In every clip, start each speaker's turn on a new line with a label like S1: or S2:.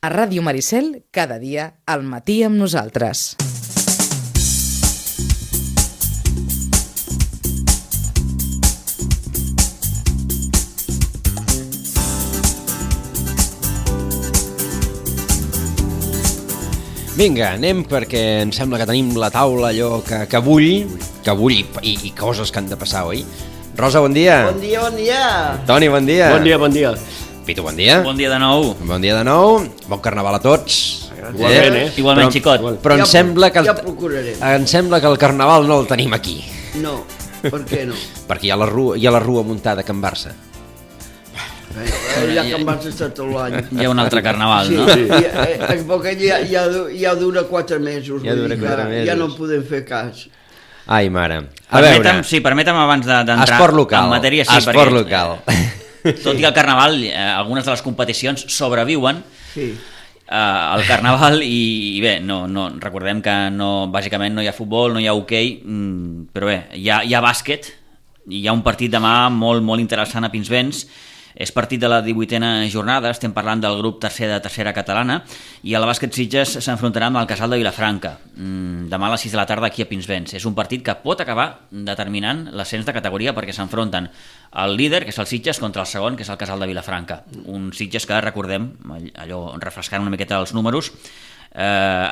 S1: A Ràdio Maricel, cada dia, al matí amb nosaltres.
S2: Vinga, anem perquè em sembla que tenim la taula allò que, que bull, que bull i, i, i coses que han de passar, oi? Rosa, bon dia.
S3: Bon dia, bon dia.
S2: Toni, bon dia.
S4: Bon dia, bon dia.
S2: Pitu, bon dia.
S5: Bon dia de nou.
S2: Bon dia de nou. Bon carnaval a tots.
S4: Igualment, eh?
S5: Igualment, xicot.
S2: Però, però em,
S3: Ja-
S2: sembla que el, Ah.
S3: ja procurarem.
S2: em sembla que el carnaval no el tenim aquí,
S3: No, per què no?
S2: perquè hi ha la rua, hi ha la rua muntada a Can Barça.
S3: Eh, eh, ja que em vas estar tot l'any.
S5: Hi ha un altre carnaval,
S3: Sí,
S5: no?
S3: sí. Ja, eh, tampoc ja, ja, du- ja dura quatre mesos.
S2: Ja
S3: vull
S2: dura
S3: dir que
S2: quatre
S3: Ja no
S2: mesos.
S3: en podem fer cas.
S2: Ai, mare. A
S5: Permetem,
S2: veure,
S5: sí, permetem abans de- d'entrar
S2: esport local.
S5: en matèria. Sí,
S2: esport
S5: perquè,
S2: local.
S5: eh, Tot i el carnaval, eh, algunes de les competicions sobreviuen
S3: Sí.
S5: eh, al carnaval i, i bé, no, no, recordem que no, bàsicament no hi ha futbol, no hi ha hoquei, mm, però bé, hi ha, hi ha bàsquet, i hi ha un partit demà molt, molt interessant a Pinsbens, és partit de la 18a jornada, estem parlant del grup tercer de tercera catalana, i el bàsquet Sitges s'enfrontarà amb el Casal de Vilafranca, mm, demà a les 6 de la tarda aquí a Pinsbens. És un partit que pot acabar determinant l'ascens de categoria perquè s'enfronten el líder, que és el Sitges, contra el segon, que és el Casal de Vilafranca. Un Sitges que, recordem, all- allò refrescant una miqueta els números, eh,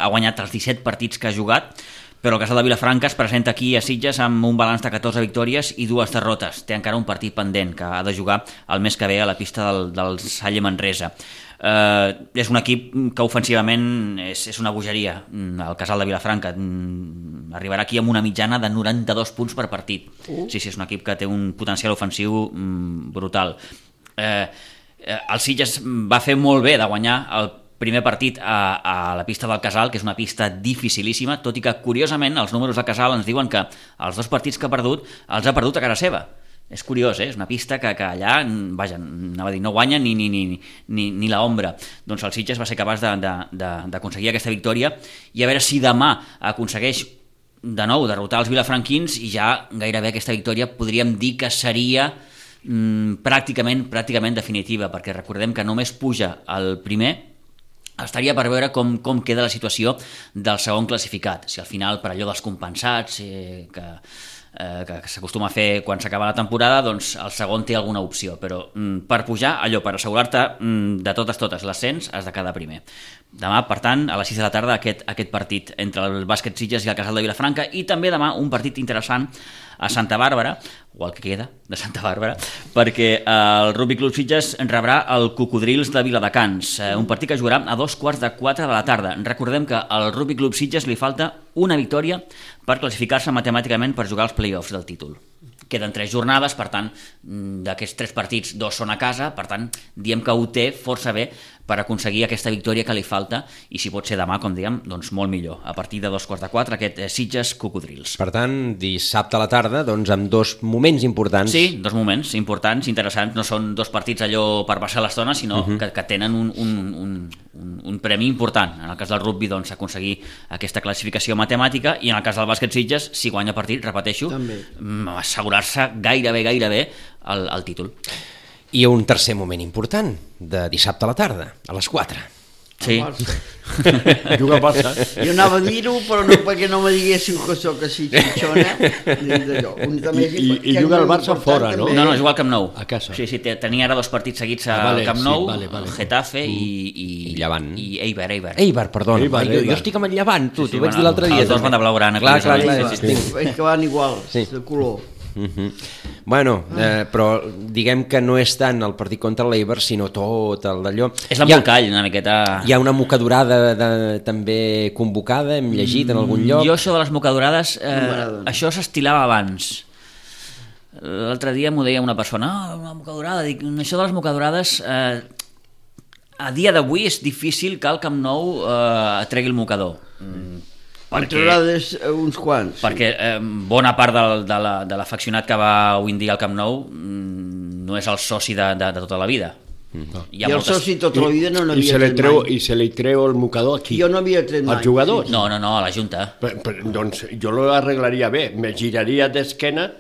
S5: ha guanyat els 17 partits que ha jugat, però el Casal de Vilafranca es presenta aquí a Sitges amb un balanç de 14 victòries i dues derrotes. Té encara un partit pendent que ha de jugar el mes que ve a la pista del, del Salle Manresa. Eh, és un equip que ofensivament és, és una bogeria, mm, el Casal de Vilafranca. Mm, Arribarà aquí amb una mitjana de 92 punts per partit. Uh. Sí, sí, és un equip que té un potencial ofensiu mm, brutal. Eh, eh, el Sitges va fer molt bé de guanyar el primer partit a, a la pista del Casal, que és una pista dificilíssima, tot i que, curiosament, els números del Casal ens diuen que els dos partits que ha perdut els ha perdut a cara seva. És curiós, eh? És una pista que, que allà, vaja, anava a dir, no guanya ni, ni, ni, ni, ni la ombra. Doncs el Sitges va ser capaç de- de- de- d'aconseguir aquesta victòria i a veure si demà aconsegueix de nou derrotar els vilafranquins i ja gairebé aquesta victòria podríem dir que seria mm, pràcticament pràcticament definitiva, perquè recordem que només puja el primer estaria per veure com, com queda la situació del segon classificat. Si al final, per allò dels compensats, eh, que, eh, que s'acostuma a fer quan s'acaba la temporada, doncs el segon té alguna opció. Però mm, per pujar, allò, per assegurar-te mm, de totes totes l'ascens, has de quedar primer. Demà, per tant, a les 6 de la tarda, aquest, aquest partit entre el bàsquet Sitges i el Casal de Vilafranca, i també demà un partit interessant a Santa Bàrbara, o el que queda de Santa Bàrbara, perquè eh, el Rugby Club Sitges rebrà el Cocodrils de Viladecans, eh, un partit que jugarà a dos quarts de quatre de la tarda. Recordem que al Rugby Club Sitges li falta una victòria per classificar-se matemàticament per jugar als play-offs del títol. Queden tres jornades, per tant, mm, d'aquests tres partits, dos són a casa, per tant, diem que ho té força bé per aconseguir aquesta victòria que li falta i si pot ser demà, com diem, doncs molt millor. A partir de dos quarts de quatre, aquest eh, Sitges-Cocodrils.
S2: Per tant, dissabte a la tarda, doncs, amb dos moments
S4: Doncs
S2: importants.
S5: Sí, dos moments importants, interessants. No són dos partits allò per passar l'estona, sinó
S4: Mhm.
S5: uh -huh. que, que tenen un, un, un, un, un premi important. En el cas del rugby, doncs, aconseguir aquesta classificació matemàtica i en el cas del bàsquet Sitges, si guanya partit, repeteixo,
S3: També.
S5: mm, assegurar-se gairebé, gairebé el, el títol.
S2: I un tercer moment important, de dissabte a la tarda, a les 4.
S5: Sí.
S4: Juga Barça.
S3: Jo anava a dir-ho, però no perquè no me diguéssiu que sóc així xixona.
S4: I- i- i juga el Barça fora, no?
S5: No, no, és igual Camp Nou.
S4: A casa.
S5: Sí, sí, te- tenia ara dos partits seguits a
S4: Ah, vale,
S5: Camp
S4: sí,
S5: Nou,
S4: vale, vale. Mm.
S5: Getafe i, i,
S2: I Llevant.
S5: I Eibar, Eibar.
S2: Eibar, perdona.
S4: Eibar,
S2: Ai, jo,
S4: Eibar.
S2: jo estic amb el llevant, tu,
S5: Sí, sí,
S2: t'ho vaig
S5: bueno,
S2: dir l'altre dia.
S5: els dos
S2: també.
S5: van de blaugrana,
S2: Clar, clar, clar.
S5: curiosament,
S2: clar.
S5: sí, sí,
S2: Sí.
S3: És que van igual,
S2: Sí.
S3: de color.
S2: Mhm. Bueno, eh, però diguem que no és tant el partit contra l'Eibar, sinó tot el d'allò.
S5: És l'embolcall, una miqueta...
S2: Hi ha una mocadurada de, també convocada, hem llegit en algun lloc.
S5: Mm, Jo això de les mocadurades, eh,
S3: M'agrada.
S5: això s'estilava abans. L'altre dia m'ho deia una persona, ah, una mocadurada, dic, això de les mocadurades... Eh, a dia d'avui és difícil que el Camp Nou eh, tregui el mocador. Mm,
S3: Perquè... Entrades eh, uns quants.
S5: perquè eh, bona part del, de la- de l'afeccionat la, que va avui en dia al Camp Nou mm, no és el soci de, de, de tota la vida.
S2: Mm.
S5: Hi
S3: I el soci tota la vida no
S4: I
S3: n'havia
S4: se li
S3: tret
S4: treu,
S3: mai.
S4: i se li treu el mocador aquí.
S3: Jo no havia tret mai.
S4: Els jugadors.
S5: No, no, no, a la Junta.
S4: Però, però, doncs jo l'arreglaria bé, me giraria d'esquena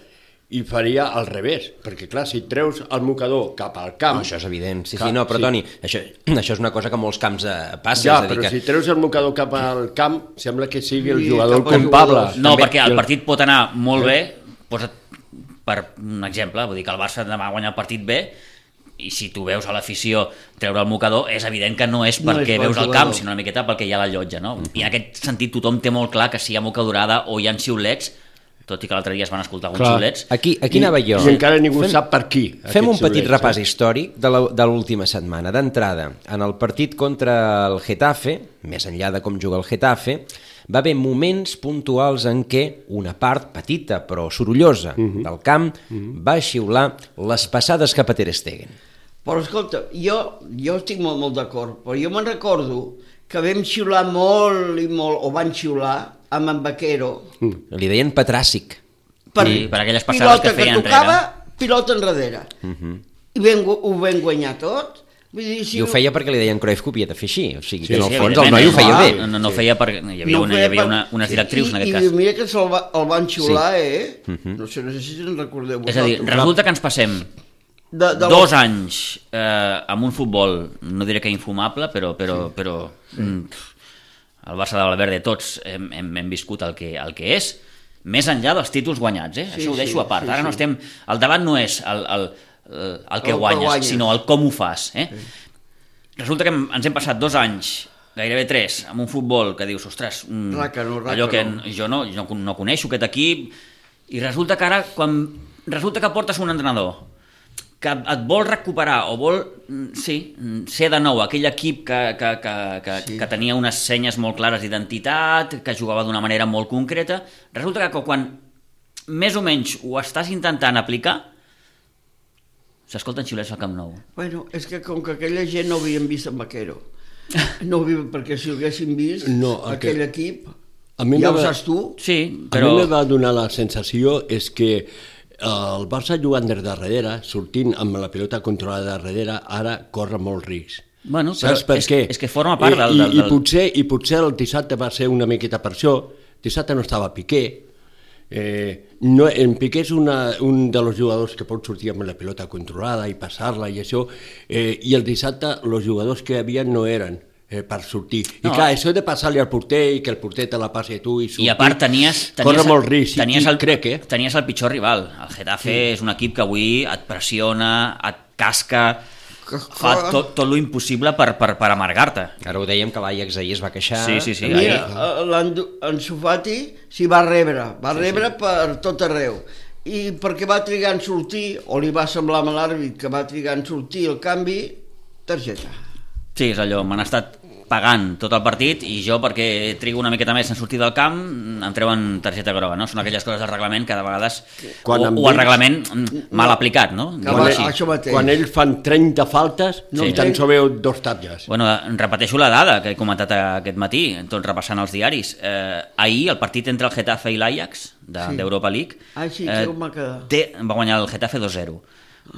S4: i faria al revés, perquè clar, si treus el mocador cap al camp...
S2: No, això és evident. Sí,
S4: Clar,
S2: sí, no, però
S4: sí.
S2: Toni, això, això és una cosa que molts camps eh, passa.
S4: Ja,
S2: és a dir
S4: però
S2: que...
S4: si treus el mocador cap al camp, sembla que sigui el
S3: I
S4: jugador
S3: cap als
S4: culpable.
S3: jugadors.
S5: No,
S4: També.
S5: perquè
S4: I
S5: el partit pot anar molt bé, posa't per un exemple, vull dir que el Barça demà guanya el partit bé, i si tu veus a l'afició treure el mocador, és evident que no és
S3: No és
S5: perquè
S3: pel
S5: veus el
S3: jugador.
S5: camp, sinó una miqueta perquè hi ha la llotja, no? I en aquest sentit tothom té molt clar que si hi ha mocadorada o hi ha xiulets, tot i que l'altre dia es van escoltar alguns
S4: Clar.
S5: xiulets,
S2: Aquí, aquí anava jo. eh?
S4: I encara ningú fem, sap per qui.
S2: Fem
S4: aquests
S2: un petit
S4: xiulets,
S2: repàs
S4: eh?
S2: històric de la- de l'última setmana. D'entrada, en el partit contra el Getafe, més enllà de com juga el Getafe, va haver moments puntuals en què una part petita però sorollosa del camp va xiular les passades cap a Ter Stegen.
S3: Però escolta, jo, jo estic molt, molt d'acord, però jo me'n recordo que vam xiular molt i molt, o van xiular, amb en Vaquero,
S2: Li deien Petràssic.
S5: Sí, per aquelles passades que feia
S3: que tocava,
S5: enrere. Mhm.
S3: pilota enrere. I vam, gu- ho vam guanyar tot. Vull dir, si
S2: I ho feia perquè li deien Cruyff que ho havia de fer així. O sigui,
S4: Sí,
S2: que en el
S4: sí,
S2: fons el
S5: evidentment,
S2: noi ho
S5: no,
S2: feia
S5: no,
S2: bé.
S5: No, no feia perquè hi havia, una, hi havia una, unes directrius,
S3: I,
S5: en aquest
S3: I
S5: cas. Mhm.
S3: mira que se'l va, el van xiular, sí. eh? No sé, no sé si en recordeu
S5: És a dir, resulta que ens passem
S3: de, de
S5: dos anys eh, amb un futbol, no diré que infumable, però, però, però mm, el Barça de Valverde tots hem, hem, hem viscut el que, el que és, més enllà dels títuls guanyats, eh?
S3: Sí,
S5: això ho deixo
S3: sí,
S5: a part.
S3: sí,
S5: Ara no
S3: sí.
S5: estem... El debat no és el, el, el, el que
S3: El que
S5: guanyes,
S3: guanyes.
S5: sinó el com ho fas. Eh? Resulta que hem- ens hem passat dos anys gairebé tres, amb un futbol que dius, ostres, mm,
S3: Ràcano, ràcano.
S5: allò que jo no, jo no coneixo aquest equip, i resulta que ara, quan resulta que portes un entrenador que et vol recuperar o vol mm, sí, mm, ser de nou aquell equip que, que, que, que, sí. que tenia unes senyes molt clares d'identitat, que jugava d'una manera molt concreta, resulta que quan més o menys ho estàs intentant aplicar, s'escolten xiulets al Camp Nou.
S3: Bueno, és que com que aquella gent no havien vist en Vaquero, no ho havien, perquè si ho haguessin vist,
S4: No, el
S3: aquell
S4: que-
S3: equip,
S4: A mi
S3: ja ho
S4: m'agrada-
S3: saps tu,
S5: Sí,
S4: Però...
S5: però...
S4: A mi em va donar la sensació és que eh, el Barça jugant des de darrere, sortint amb la pilota controlada de darrere, ara corre molt risc.
S5: Bueno,
S4: Saps
S5: però
S4: per
S5: és-
S4: què?
S5: és que forma part
S4: I,
S5: del-
S4: i,
S5: del-
S4: I,
S5: del-
S4: potser, I potser el dissabte va ser una miqueta per això. Dissabte no estava Piqué. Eh, no, en Piqué és una, un dels jugadors que pot sortir amb la pilota controlada i passar-la i això. Eh, I el dissabte els jugadors que hi havia no eren eh, per sortir. I
S5: No.
S4: clar, això de passar-li al porter i que el porter te la passi a tu i
S5: I a part tenies... tenies
S4: Corre molt risc,
S5: tenies
S4: i, el... crec, eh?
S5: Tenies el pitjor rival. El Getafe sí. és un equip que avui et pressiona, et casca,
S3: Que
S5: fa
S3: joder.
S5: tot, tot lo impossible per, per, per amargar-te.
S2: Ara ho dèiem que l'Ajax ahir es va queixar.
S5: Sí, sí, sí.
S3: mira, l'Andu- en Sufati s'hi va rebre, va sí, rebre sí. per tot arreu. I perquè va trigar en sortir, o li va semblar a l'àrbit que va trigar en sortir el canvi, targeta.
S5: Sí, és allò, m'han estat pagant tot el partit i jo perquè trigo una miqueta més en sortir del camp em treuen targeta groga, no? Són aquelles coses del reglament que de vegades...
S4: Quan
S5: o,
S4: em
S5: o el
S4: dius-
S5: reglament mm, mal aplicat, no?
S3: Que
S5: Diguem-ho
S3: va-
S5: així.
S3: això mateix.
S4: Quan ells fan 30 faltes, no
S5: Sí.
S4: sí. tan sols veu dos tatges.
S5: Bueno, repeteixo la dada que he comentat aquest matí, tot repassant els diaris. Eh, ahir el partit entre el Getafe i l'Ajax de-
S3: Sí.
S5: d'Europa League eh,
S3: Ah, sí, que home que-
S5: té, va guanyar el Getafe 2-0,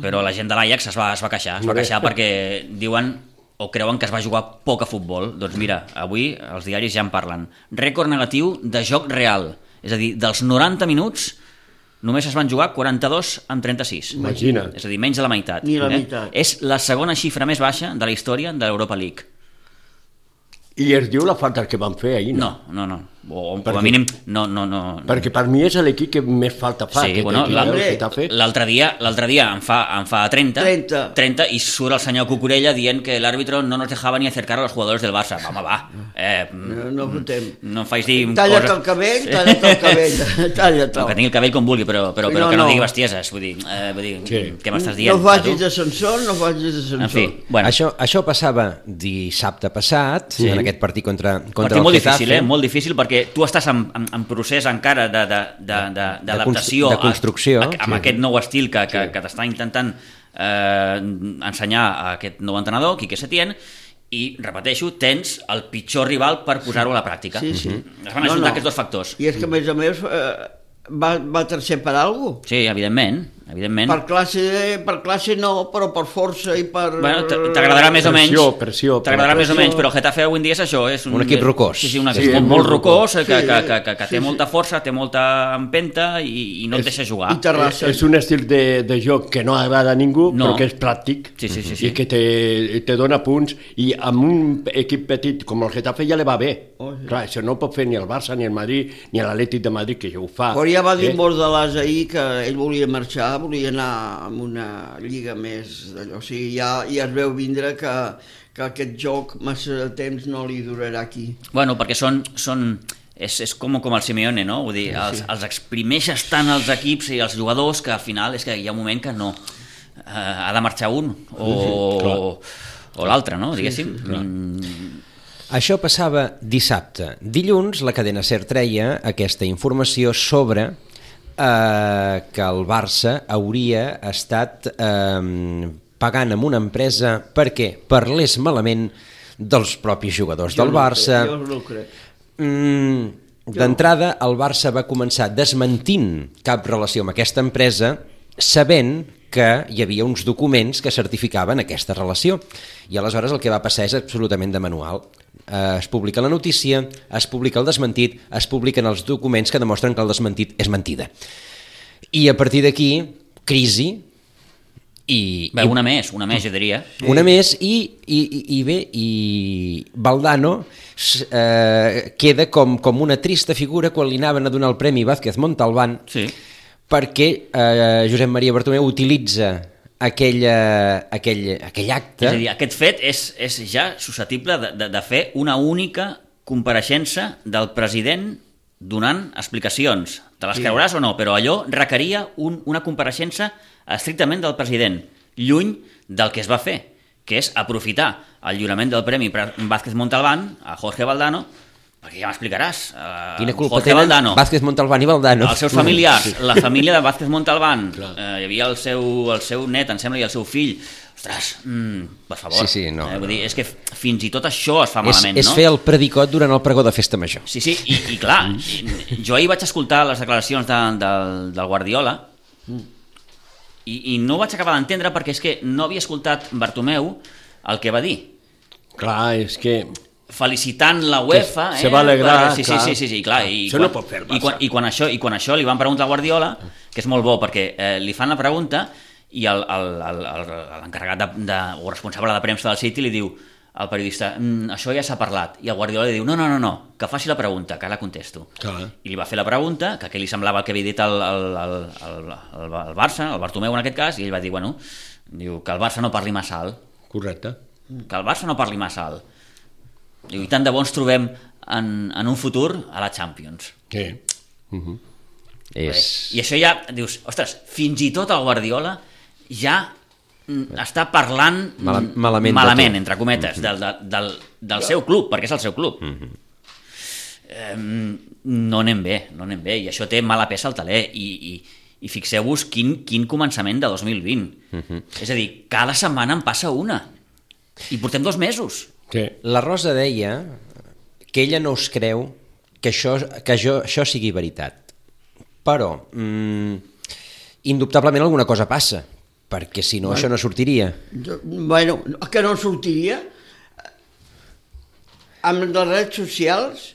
S5: però la gent de l'Ajax es, va, es va queixar, es va
S4: Molt bé.
S5: queixar perquè diuen o creuen que es va jugar poc a futbol. Doncs mira, avui els diaris ja en parlen. Rècord negatiu de joc real, és a dir, dels 90 minuts només es van jugar 42 amb 36.
S4: Imagina't.
S5: És a dir, menys de la meitat.
S3: Ni la meitat.
S5: Eh? És la segona xifra més baixa de la història de l'Europa League.
S4: I es diu la falta que van fer ahir, no?
S5: No, no, no. O, o com
S4: Perquè-
S5: a mínim, no, no, no.
S4: Perquè per mi és l'equip que més falta fa.
S5: Sí,
S4: aquest
S5: bueno,
S4: equip,
S5: la-
S4: eh, el Getafe.
S5: L'altre dia, l'altre dia en, fa, en fa 30,
S3: 30.
S5: 30 i surt el senyor Cucurella dient que l'àrbitro no nos dejava ni acercar a los jugadores del Barça. Home, va. Eh,
S3: No, no fotem.
S5: no em faig dir
S3: Talla't
S5: coses-
S3: el cabell, talla't el cabell, talla't
S5: No, que
S3: el
S5: tingui el cabell com vulgui, però, però, però
S3: No,
S5: que no,
S3: no.
S5: digui bestieses. Vull dir, eh, vull dir
S4: Sí.
S5: què m'estàs dient?
S3: No facis
S5: tu?
S3: d'ascensor, no facis d'ascensor.
S5: En fi,
S2: Bueno.
S5: bueno.
S2: Això, això passava dissabte passat, sí. en aquest partit contra, contra el
S5: Partit molt
S2: Getafe.
S5: difícil, eh? Molt difícil, perquè tu estàs en, en, en procés encara de- de- de- de- d'adaptació
S2: de construcció,
S5: a, a, amb
S2: sí.
S5: aquest nou estil que, que, que t'està intentant eh, ensenyar a aquest nou entrenador, Quique Setién, i, repeteixo, tens el pitjor rival per posar-ho a la pràctica.
S3: Sí, sí.
S5: Mm-hmm. Es van ajuntar no, no. aquests dos factors.
S3: I és que, a més a més, eh, va, va tercer per alguna
S5: Sí, evidentment. evidentment.
S3: Per classe, per classe no, però per força i per...
S5: Bueno, t- t'agradarà més o menys.
S4: Pressió, pressió,
S5: T'agradarà més o
S4: pressió.
S5: menys, però el Getafe avui en dia és això. És un,
S2: Un equip rocós.
S5: Sí, sí, un
S4: Sí,
S5: equip sí, molt,
S4: molt
S5: molt rocós, que,
S3: Sí,
S5: que, que, que, que té
S3: sí, sí.
S5: molta força, té molta empenta i, i no et deixa jugar.
S3: I Terrassa.
S4: És un estil de, de joc que no agrada a ningú, no.
S5: No.
S4: però que és pràctic
S5: Sí, sí, sí,
S4: i
S5: sí.
S4: que te, te dona punts i amb un equip petit com el Getafe ja li va bé. Oh, sí. Clar, això no ho pot fer ni el Barça, ni el Madrid, ni l'Atlètic de Madrid, que ja ho fa.
S3: Però ja va dir
S4: eh?
S3: Bordalàs ahir que ell volia marxar, volia anar a una lliga més d'allò. O sigui, ja, ja es veu vindre que, que aquest joc massa de temps no li durarà aquí.
S5: Bueno, perquè són... són és, és com, com el Simeone, no? Vull dir, els, els exprimeixes tant els equips i els jugadors que al final és que hi ha un moment que no... Eh, ha de marxar un o,
S4: clar.
S5: o, o l'altre, no? Diguéssim. Mm,
S2: Això passava dissabte. Dilluns, la cadena SER treia aquesta informació sobre eh, que el Barça hauria estat eh, pagant amb una empresa perquè parlés malament dels propis jugadors del Barça.
S3: Jo no ho crec.
S2: Mm, D'entrada, el Barça va començar desmentint cap relació amb aquesta empresa, sabent que hi havia uns documents que certificaven aquesta relació. I aleshores el que va passar és absolutament de manual. Eh, Es publica la notícia, es publica el desmentit, es publiquen els documents que demostren que el desmentit és mentida. I a partir d'aquí, crisi i,
S5: bé, una més, una més, jo diria.
S2: una més i, i, i, i bé, i Valdano s- eh, queda com, com una trista figura quan li anaven a donar el Premi Vázquez Montalbán
S5: Sí.
S2: perquè eh, Josep Maria Bartomeu utilitza aquella, aquell, aquell acte
S5: És a dir, aquest fet és, és ja susceptible de, de, de fer una única compareixença del president donant explicacions. Te les creuràs o no, però allò requeria un, una compareixença estrictament del president, lluny del que es va fer, que és aprofitar el lliurament del Premi Pra- Vázquez Montalbán a Jorge Valdano, perquè ja m'explicaràs. eh,
S2: Quina culpa
S5: Jorge
S2: tenen
S5: Valdano.
S2: Vázquez Montalbán i Valdano?
S5: Els seus familiars, la família de Vázquez Montalbán,
S4: Clar.
S5: eh, hi havia el seu, el seu net, em sembla, i el seu fill. Ostres, mm, per favor.
S2: Sí, sí, no,
S5: eh, vull dir, és que f- fins i tot això es fa
S2: és,
S5: malament,
S2: és
S5: no?
S2: fer el Mm. predicot durant el pregó de festa major.
S5: Sí, sí, i, i clar, i- jo ahir vaig escoltar les declaracions de, del, del Guardiola
S2: Mm.
S5: i, i no vaig acabar d'entendre perquè és que no havia escoltat Bartomeu el que va dir
S4: Clar, és que...
S5: felicitant la UEFA,
S4: se
S5: eh?
S4: va alegrar,
S5: per- sí, sí,
S4: clar. Ah,
S5: sí, sí, sí, clar, i
S4: Això no pot fer el
S5: i quan,
S4: Barça.
S5: i quan això i quan això li van preguntar a Guardiola, que és molt bo perquè eh, li fan la pregunta i el- el- el- el- l'encarregat de, de, o responsable de premsa del City li diu al periodista, "Mm, això ja s'ha parlat i el Guardiola li diu, no, no, no, no que faci la pregunta, que ara contesto
S4: Clar.
S5: i li va fer la pregunta, que què li semblava el que havia dit el, el, el, el, el, el Barça el Bartomeu en aquest cas, i ell va dir, bueno diu, que el Barça no parli massa alt
S4: Correcte.
S5: que el Barça no parli massa alt. Diu, I tant de bo ens trobem en, en un futur a la Champions.
S4: Sí.
S2: És...
S5: I això ja, dius, ostres, fins i tot el Guardiola ja mm, està parlant mm,
S2: Eh. Mala- malament de Mhm.
S5: malament
S2: tu.
S5: entre cometes, del, del, del, del seu club, perquè és el seu club.
S2: Mhm.
S5: Em, no anem bé, no anem bé, i això té mala peça al taler, i, i, i fixeu-vos quin, quin començament de 2020.
S2: Mhm.
S5: És a dir, cada setmana en passa una, i portem dos mesos.
S4: Sí.
S2: La Rosa deia que ella no us creu que això, que jo, això sigui veritat. Però, mm, indubtablement alguna cosa passa, perquè si no això no sortiria.
S3: Jo, bueno, que no sortiria. Amb les redes socials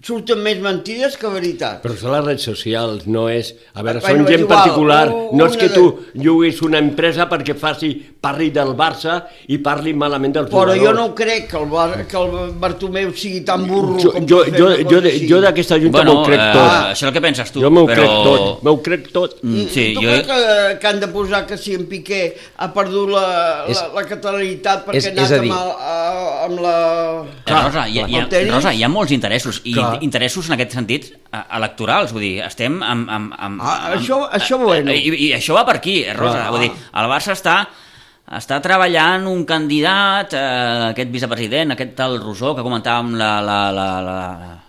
S3: surten més mentides que veritat.
S4: Però són les redes socials, no és... A veure,
S3: Bueno,
S4: són
S3: és
S4: gent
S3: igual,
S4: particular,
S3: u-
S4: no és
S3: una
S4: que
S3: de-
S4: tu lloguis una empresa perquè faci parli del Barça i parli malament dels
S3: Però
S4: jugadors.
S3: jo no crec que el, Bar que el Bartomeu sigui tan burro
S4: jo,
S3: com
S4: jo,
S3: per fer
S4: jo,
S3: una cosa
S4: jo, de-
S3: així.
S4: jo d'aquesta junta bueno, m'ho crec
S5: eh,
S4: tot.
S5: Això és el que penses tu,
S4: jo m'ho
S5: però...
S4: crec tot, m'ho crec tot.
S5: Mm, Sí,
S3: tu
S5: jo...
S3: creus que, que han de posar que si en Piqué ha perdut la,
S2: És-
S3: la, la catalanitat perquè
S2: és-
S3: ha anat
S2: és a dir-
S3: amb, el, a, amb la...
S5: Eh, Rosa, hi ha, hi
S3: El tenis?
S5: ha, Rosa, hi ha molts interessos, i
S4: Clar.
S5: interessos en aquest sentit eh, electorals, vull dir, estem amb... amb, amb,
S3: Ah,
S5: amb Eh,
S3: això- això bueno.
S5: I, I això va per aquí, eh, Rosa,
S4: Clar.
S5: vull dir, el Barça està està treballant un candidat, eh, aquest vicepresident, aquest tal Rosó que comentàvem la, la, la, la,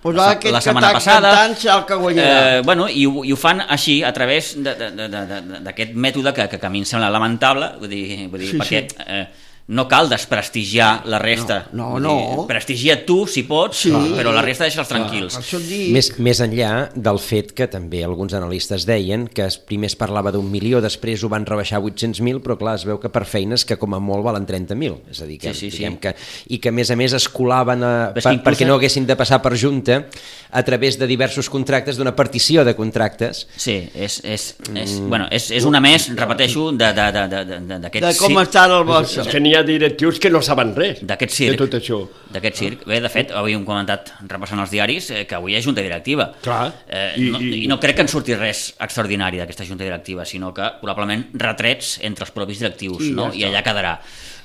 S3: Pues
S5: la,
S3: ara
S5: se-
S3: aquest
S5: la
S3: que
S5: setmana
S3: està
S5: passada.
S3: cantant serà el que guanyarà.
S5: Eh, bueno, i, ho- I ho fan així, a través de- de- de- de- de- d'aquest mètode que, que, que a mi em sembla lamentable, vull dir, vull dir
S3: Sí,
S5: perquè
S3: sí.
S5: Eh, no cal desprestigiar la resta.
S3: No, no,
S5: Vull dir,
S3: no.
S5: Prestigia tu, si pots,
S3: Sí.
S5: però la resta deixa'ls tranquils.
S3: Per això et dic...
S2: Més, més enllà del fet que també alguns analistes deien que es, primer es parlava d'un milió, després ho van rebaixar a 800.000, però clar, es veu que per feines que com a molt valen 30.000, és a dir, que,
S5: Sí, sí, sí.
S2: diguem que, i que a més a més es colaven a,
S5: Però és
S2: per,
S5: que inclús-
S2: perquè no haguessin de passar per junta a través de diversos contractes, d'una partició de contractes,
S5: Sí, és, és, és,
S3: Mm.
S5: bueno, és, és una més, repeteixo, de- de- de- de- de- de-
S3: De
S5: d'aquest
S3: com
S5: circ.
S3: està el
S4: És
S3: Barça.
S4: que n'hi ha directius que no saben res
S5: D'aquest circ.
S4: de tot això.
S5: D'aquest circ. Bé, de fet, avui hem comentat, repassant els diaris, eh, que avui hi ha Junta Directiva.
S4: Clar.
S5: Eh,
S4: I-
S5: no,
S4: i-
S5: I no crec que en surti res extraordinari d'aquesta Junta Directiva, sinó que probablement retrets entre els propis directius,
S3: I
S5: I no?
S3: ja
S5: I allà quedarà.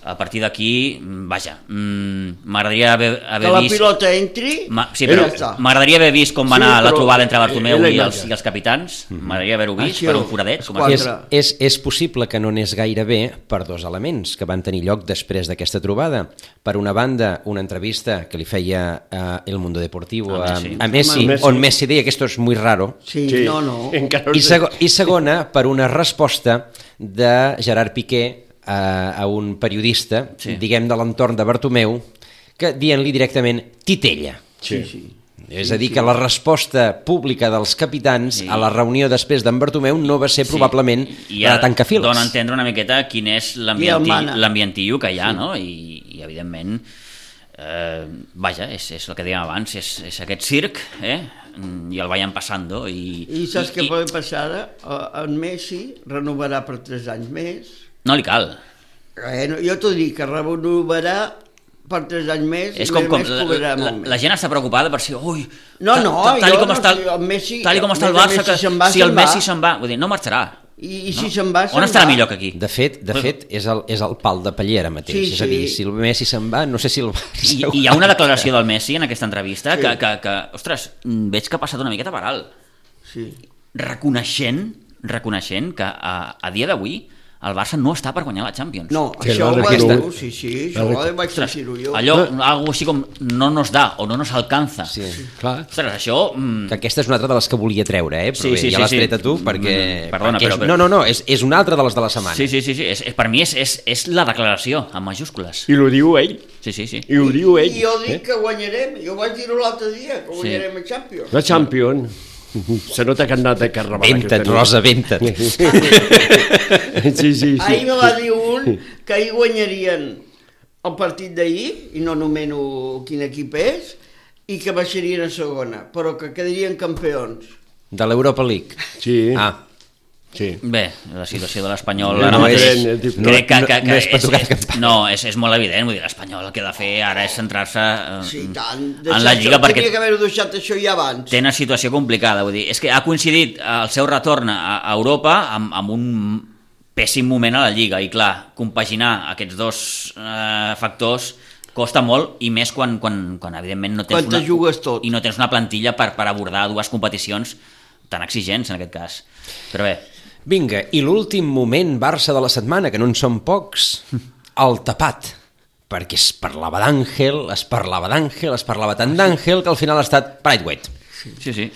S5: A partir d'aquí, mm, vaja, mm, m'agradaria haver, haver
S3: Que la
S5: vist...
S3: pilota entri...
S5: Ma, sí,
S4: Eh,
S5: però
S4: ja
S3: està.
S5: m'agradaria haver vist com va
S4: Sí,
S5: anar la
S4: però-
S5: trobada entre Bartomeu
S4: eh, la
S5: i els,
S4: imatge.
S5: i els capitans. M'agradaria haver-ho vist
S3: Això,
S5: per un foradet. Com
S3: quatre.
S5: a...
S2: És, és, és possible que no anés gaire bé per dos elements que van tenir lloc després d'aquesta trobada. Per una banda, una entrevista que li feia eh, El Mundo Deportivo a,
S5: A Messi.
S2: a Messi,
S4: Messi.
S2: on Messi deia que esto es muy raro.
S3: Sí, no, no.
S4: Encara
S2: I, sego I segona, per una resposta de Gerard Piqué a, a un periodista, sí.
S5: Sí.
S2: diguem de l'entorn de Bartomeu, que dient-li directament titella.
S3: Sí, sí.
S2: És a dir, que la resposta pública dels capitans
S5: Sí.
S2: sí. a la reunió després d'en Bartomeu no va ser
S5: Sí,
S2: probablement
S5: i- i
S2: la
S5: ara
S2: de tancafils.
S5: Dona a entendre una miqueta quin és
S3: Qui el
S5: l'ambienti-
S3: mana.
S5: l'ambientillo que hi ha, no? I, i evidentment, eh, vaja, és, és el que dèiem abans, és, és aquest circ, eh? Mm, I el veiem passando. I,
S3: I saps què pot passar ara? Eh, En Messi renovarà per 3 anys més.
S5: No li cal.
S3: Eh, no, jo t'ho dic, que renovarà per 3 anys més
S5: És
S3: i
S5: com,
S3: a
S5: com
S3: més
S5: la,
S3: cobrarà
S5: la,
S3: molt més.
S5: la gent està preocupada per si... Ui,
S3: No,
S5: ta-
S3: no,
S5: ta- tal, i
S3: jo
S5: com
S3: no,
S5: està,
S3: si el Messi-
S5: tal i com està
S3: a
S5: el
S3: més a
S5: Barça,
S3: més,
S5: que,
S3: si se'n va,
S5: si el
S3: se'n va.
S5: Messi se'n va... Vull dir, no marxarà.
S3: I- i
S5: no?
S3: si se'n va,
S5: On
S3: se'n
S5: estarà
S3: va.
S5: millor que aquí?
S2: De fet, de
S5: Bueno.
S2: fet és, el, és el pal de paller ara mateix.
S3: Sí,
S2: Sí, és a dir,
S3: sí.
S2: si el Messi se'n va, no sé si el Barça...
S5: I,
S2: ho
S5: I hi ha una
S2: farà.
S5: declaració del Messi en aquesta entrevista
S3: Sí.
S5: que, que, que, ostres, mm, veig que ha passat una miqueta per alt.
S3: Sí.
S5: reconeixent, reconeixent que a, a dia d'avui el Barça no està per guanyar la Champions.
S3: No,
S4: Sí,
S3: això ho
S4: l'ha
S3: vaig
S4: reconegut.
S3: dir, sí, sí,
S4: L'ha
S3: això ho
S4: reconegut.
S3: vaig dir-ho jo.
S5: Allò, algo així com no nos da o no nos alcanza.
S2: Sí.
S4: Clar.
S5: Ostres, això...
S2: Que
S5: Mm,
S2: aquesta és una altra de les que volia treure, eh? Però
S5: Sí,
S2: bé,
S5: sí,
S2: ja
S5: sí,
S2: l'has
S5: sí.
S2: tret a tu
S5: Mm,
S2: perquè...
S5: mm, perdona,
S2: perquè
S5: però-
S2: és, No, no, no, és, és una altra de les de la setmana.
S5: sí, sí, sí, sí. És, és, per mi és, és, és la declaració, amb majúscules.
S4: I ho diu ell.
S5: Sí, sí, sí.
S4: I ho diu ell. eh?
S3: I jo dic que guanyarem, jo vaig dir-ho l'altre dia, que guanyarem a Champions.
S4: La Champions. Se nota que han anat de carnaval.
S2: Venta't,
S4: aquesta nit.
S2: Rosa, venta't.
S4: Sí, sí, sí.
S3: Ahir me va dir un que ahir guanyarien el partit d'ahir, i no nomeno quin equip és, i que baixarien a segona, però que quedarien campions.
S2: De l'Europa League.
S4: Sí.
S2: Ah,
S4: Sí.
S5: Bé, la situació de l'Espanyol
S4: No
S5: ara mateix...
S4: és- és diferent.
S5: crec que,
S2: No-
S5: que, que
S2: no és per tocar
S5: és,
S2: cap
S5: és,
S2: pal.
S5: no, és, és molt evident, vull dir, l'Espanyol el que ha de fer ara és centrar-se eh,
S3: Sí, i tant.
S5: en la Lliga, perquè
S3: Tenia que haver-ho deixat això ja abans.
S5: té una situació complicada, vull dir, és que ha coincidit el seu retorn a a Europa amb, amb un pèssim moment a la Lliga i clar, compaginar aquests dos eh, factors costa molt i més quan, quan, quan evidentment no tens,
S3: Quan te jugues tot.
S5: i no tens una plantilla per, per abordar dues competicions tan exigents en aquest cas però bé,
S2: vinga, i l'últim moment Barça de la setmana, que no en són pocs, el tapat. Perquè es parlava d'Àngel, es parlava d'Àngel, es parlava tant d'Àngel, que al final ha estat Brightweight.
S5: sí, sí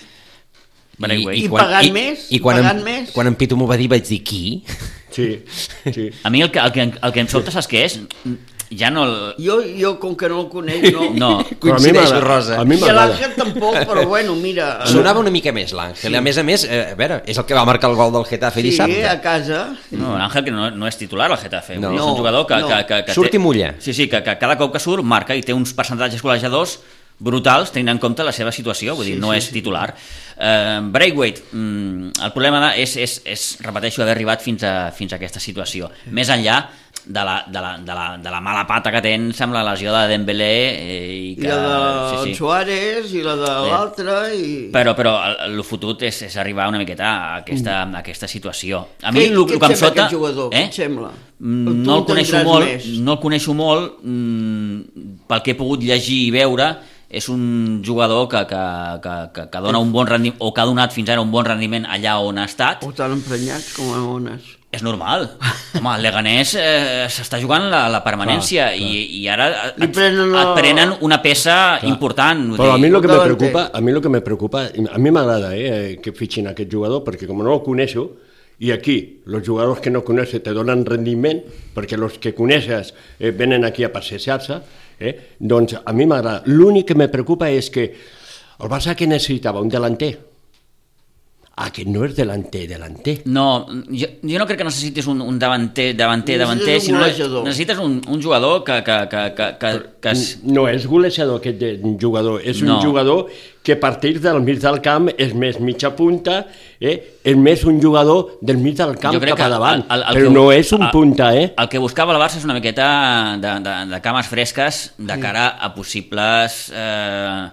S5: Braithwaite.
S3: I pagant més?
S2: I quan,
S3: Pagant
S2: en,
S3: més?
S2: quan en Pitu m'ho va dir vaig dir qui?
S4: Sí, sí.
S5: a mi el que, el que, el que em sobta saps què és? ja no el...
S3: Jo, jo, com que no el conec, no.
S5: no,
S4: Però a mi
S2: Coincideixo,
S4: m'agrada-
S2: Rosa.
S4: A
S3: I
S4: mi
S3: a
S4: m'agrada.
S3: l'Àngel tampoc, però bueno, mira...
S2: Sonava una mica més l'Àngel. Sí. A més a més, eh, a veure, és el que va marcar el gol del Getafe sí,
S3: Sí, eh,
S2: dissabte.
S3: a casa.
S5: No, l'Àngel que no, no és titular al Getafe.
S2: No.
S5: No, és un jugador que...
S3: No,
S5: que, que, que
S2: Surt i mulla.
S5: Sí, sí, que, que cada cop que surt marca i té uns percentatges col·legiadors brutals tenint en compte la seva situació, vull dir, no és titular. Uh, Braithwaite, mm, el problema de, és, és, és, repeteixo, haver arribat fins a, fins a aquesta situació. Més enllà de la, de, la, de, la, de la mala pata que tens amb la lesió de Dembélé eh, i
S3: I
S5: que...
S3: la de sí, Suárez, i la de l'altre, i...
S5: Però, però el, el fotut és, és arribar una miqueta a aquesta, a aquesta situació. A
S3: Mm. Què-
S5: mi el,
S3: què
S5: el
S3: et sembla
S5: que em sota... eh?
S3: aquest jugador? Què et sembla?
S5: Mm,
S3: Tu
S5: No el
S3: entendràs
S5: coneixo molt,
S3: més.
S5: no el coneixo molt mm, pel que he pogut llegir i veure és un jugador que, que, que, que, que dona un bon rendiment, o que ha donat fins ara un bon rendiment allà on ha estat.
S3: O tan emprenyats com a ones.
S5: És normal. Home, el Leganés eh, s'està jugant la, la permanència clar, clar. I, i ara
S3: Li
S5: et,
S3: prenen la-
S5: et prenen una peça clar. important. vull
S4: Però a
S5: dir.
S4: mi el que me
S3: Davanter.
S4: preocupa, a mi lo que me preocupa, a mi m'agrada eh, que fitxin aquest jugador, perquè com no el coneixo, Y aquí, los jugadores que no conoces te donen rendiment, perquè els que coneixes eh, venen aquí a passejar-se, eh? doncs a mi m'agrada. L'únic que me preocupa és que el Barça que necessitava un delanter, ah, que no és delanter, delanter.
S5: No, jo, jo no crec que necessitis un, un davanter, davanter, davanter,
S3: Necessites un
S5: sinó
S3: golejador.
S5: necessites un, un jugador que, que, que, que, que, que es,
S4: No és golejador aquest de- jugador, és no.
S5: No.
S4: un jugador que a partir del mig del camp és més mitja punta, eh? és més un jugador del mig del camp cap a davant, el, el, el però
S5: que-
S4: no és un
S5: el-
S4: punta, eh?
S5: El que buscava el Barça és una miqueta de, de, de cames fresques de cara a possibles eh,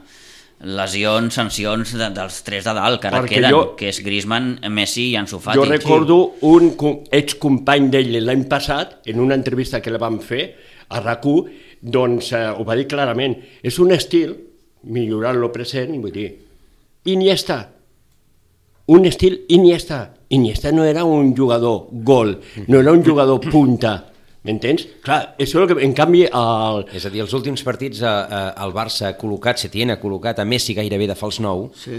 S5: lesions, sancions de, dels tres de dalt, que ara
S4: Perquè
S5: queden,
S4: jo-
S5: que és Griezmann, Messi i Ansu Fati.
S4: Jo recordo un co- excompany d'ell l'any passat, en una entrevista que li vam fer a RAC1, doncs eh, ho va dir clarament, és un estil, millorant lo present, vull dir, Iniesta, un estil Iniesta. Iniesta no era un jugador gol, no era un jugador punta, m'entens? Clar, això és el que, en canvi, el,
S2: És a dir, els últims partits eh, eh, el Barça ha col·locat, Setién ha col·locat a Messi gairebé de fals nou, sí.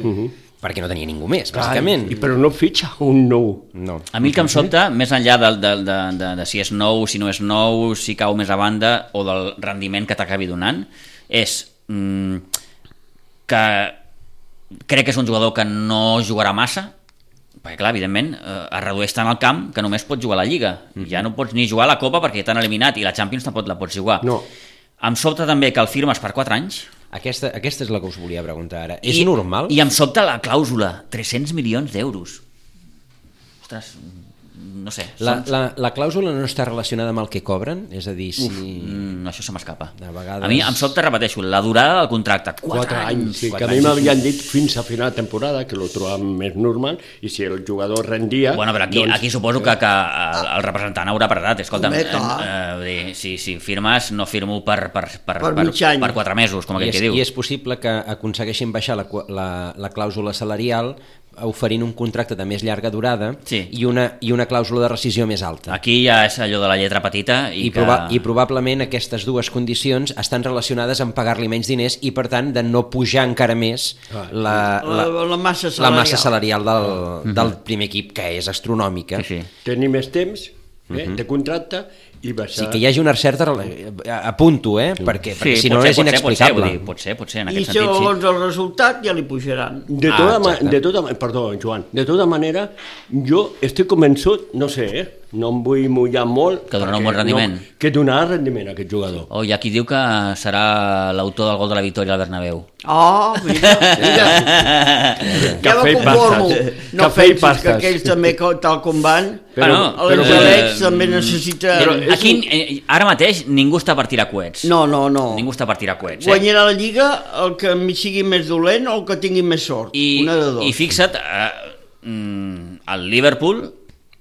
S2: perquè no tenia ningú més, bàsicament.
S4: i, però no fitxa un nou.
S2: No.
S5: A mi el que em sobta, més enllà del, del, de, de, de si és nou, si no és nou, si cau més a banda o del rendiment que t'acabi donant, és mm, que crec que és un jugador que no jugarà massa, perquè clar, evidentment, eh, es redueix tant al camp que només pots jugar a la Lliga.
S2: Mhm.
S5: Ja no pots ni jugar a la Copa perquè t'han eliminat i la Champions tampoc la pots jugar.
S4: No.
S5: Em sobta també que el firmes per 4 anys.
S2: Aquesta, aquesta és la que us volia preguntar ara. És normal?
S5: I em sobta la clàusula, 300 milions d'euros. Ostres, no sé.
S2: La,
S5: són-
S2: la, la clàusula no està relacionada amb el que cobren? És a dir, si...
S5: Mm, això se m'escapa.
S2: De vegades-
S5: A mi em sobte, repeteixo, la durada del contracte, 4,
S4: 4 anys, sí, que a mi m'havien dit fins a final de temporada, que lo trobàvem més normal, i si el jugador rendia...
S5: Bueno, però aquí,
S4: doncs-
S5: aquí suposo que, que el, el representant haurà parlat, escolta'm, eh,
S3: Home, clar.
S5: eh, vull dir, si, si firmes, no firmo per, per, per,
S3: Per mig any.
S5: per 4 mesos, com
S2: I
S5: aquell
S2: és,
S5: que diu.
S2: I és possible que aconsegueixin baixar la, qua- la, la clàusula salarial oferint un contracte de més llarga durada
S5: Sí. Ah,
S2: i, una, i una clàusula de rescisió més alta.
S5: Aquí ja és allò de la lletra petita i,
S2: I,
S5: que...
S2: proba I probablement aquestes dues condicions estan relacionades amb pagar-li menys diners i, per tant, de no pujar encara més la, la,
S3: La, la, la massa
S2: la
S3: salarial.
S2: massa salarial del, del primer equip, que és astronòmica.
S5: Sí, sí.
S4: tenir més temps eh, de contracte i
S2: Sí,
S4: baixar...
S2: que hi hagi una certa... rela- Apunto, eh? Perquè, perquè si no
S5: pot
S2: és
S5: ser, pot ser,
S2: inexplicable.
S5: Pot ser, pot ser, pot ser, en
S3: I
S5: aquest sentit, sí.
S3: segons el resultat ja li pujaran.
S4: De
S2: Ah,
S4: tota, ah,
S2: exacte.
S4: de tota, ma- perdó, Joan, de tota manera, jo estic convençut, no sé, eh, no em vull mullar molt...
S5: Que donarà
S4: perquè
S5: un bon rendiment.
S4: No, que donarà rendiment a aquest jugador.
S5: Oh, hi ha qui diu que serà l'autor del gol de la victòria al Bernabéu.
S3: Oh, mira, mira. ja
S4: Cafè
S3: me
S4: i
S3: conformo.
S4: pastes.
S3: No
S4: Cafè i
S3: pensis que
S4: pastes.
S3: aquells també, co- tal com van,
S5: Però-
S4: Ah, no,
S3: l'Angelets
S5: eh,
S3: també necessita...
S5: Però Aquí, eh, ara mateix, ningú està per tirar coets.
S3: No, no, no.
S5: Ningú està per tirar coets, eh?
S3: Guanyarà la Lliga el que em sigui més dolent o el que tingui més sort.
S5: I,
S3: Una de dos.
S5: I fixa't, eh, mm, el Liverpool,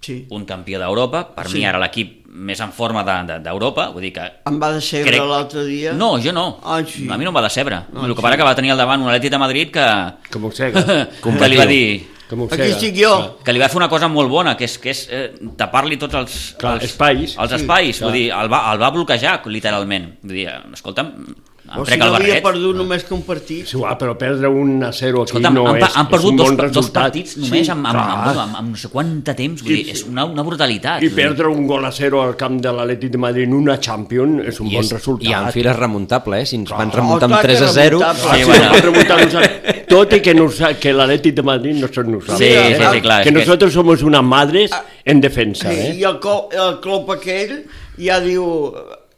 S3: Sí.
S5: un campió d'Europa, per sí. mi ara l'equip més en forma de- de- d'Europa, de, vull dir que...
S3: Em va decebre
S5: Crec-
S3: Crec... l'altre dia.
S5: No, jo no.
S3: Ah, sí.
S5: A mi no em va decebre. Ah, el que para que va tenir al davant un Atleti de Madrid que,
S4: Que mossega.
S5: que li va dir...
S4: Que mossega.
S3: Aquí estic jo.
S4: Clar.
S5: que li va fer una cosa molt bona, que és, que és eh, tapar-li tots els,
S4: Clar,
S5: els
S4: espais.
S5: Els
S4: Sí,
S5: espais, sí,
S4: clar.
S5: vull dir, el va, el va bloquejar, literalment. Vull dir, escolta'm, em
S3: O
S5: trec
S3: si no
S5: el
S3: havia
S5: barret.
S3: perdut només que un partit.
S4: És igual, però perdre un a 0 aquí
S5: Escolta'm,
S4: no
S5: han,
S4: és,
S5: pa- han perdut
S4: és un
S5: dos,
S4: bon
S5: pa- dos
S4: resultat.
S5: partits només amb, amb, amb,
S4: clar.
S5: amb, amb, amb no sé quant de temps, vull dir, és una, una brutalitat.
S4: I
S5: vull dir.
S4: perdre un gol a 0 al camp de l'Atlètic de Madrid en una Champions és un
S2: I,
S4: bon
S2: és,
S4: resultat.
S2: I en fila és remuntable, eh? Si ens van remuntar
S3: Oh,
S2: amb
S3: clar que
S2: 3 a 0...
S3: remuntable.
S4: Ah, sí,
S5: Sí,
S4: bueno.
S5: bueno.
S4: Tot i que, nos, que l'Atlètic de Madrid no són nosaltres.
S5: Sí,
S4: eh?
S5: sí, sí, clar,
S4: Que
S5: és que-
S4: nosotros somos unas madres en defensa,
S3: I
S4: eh?
S3: el, co- el club aquell ja diu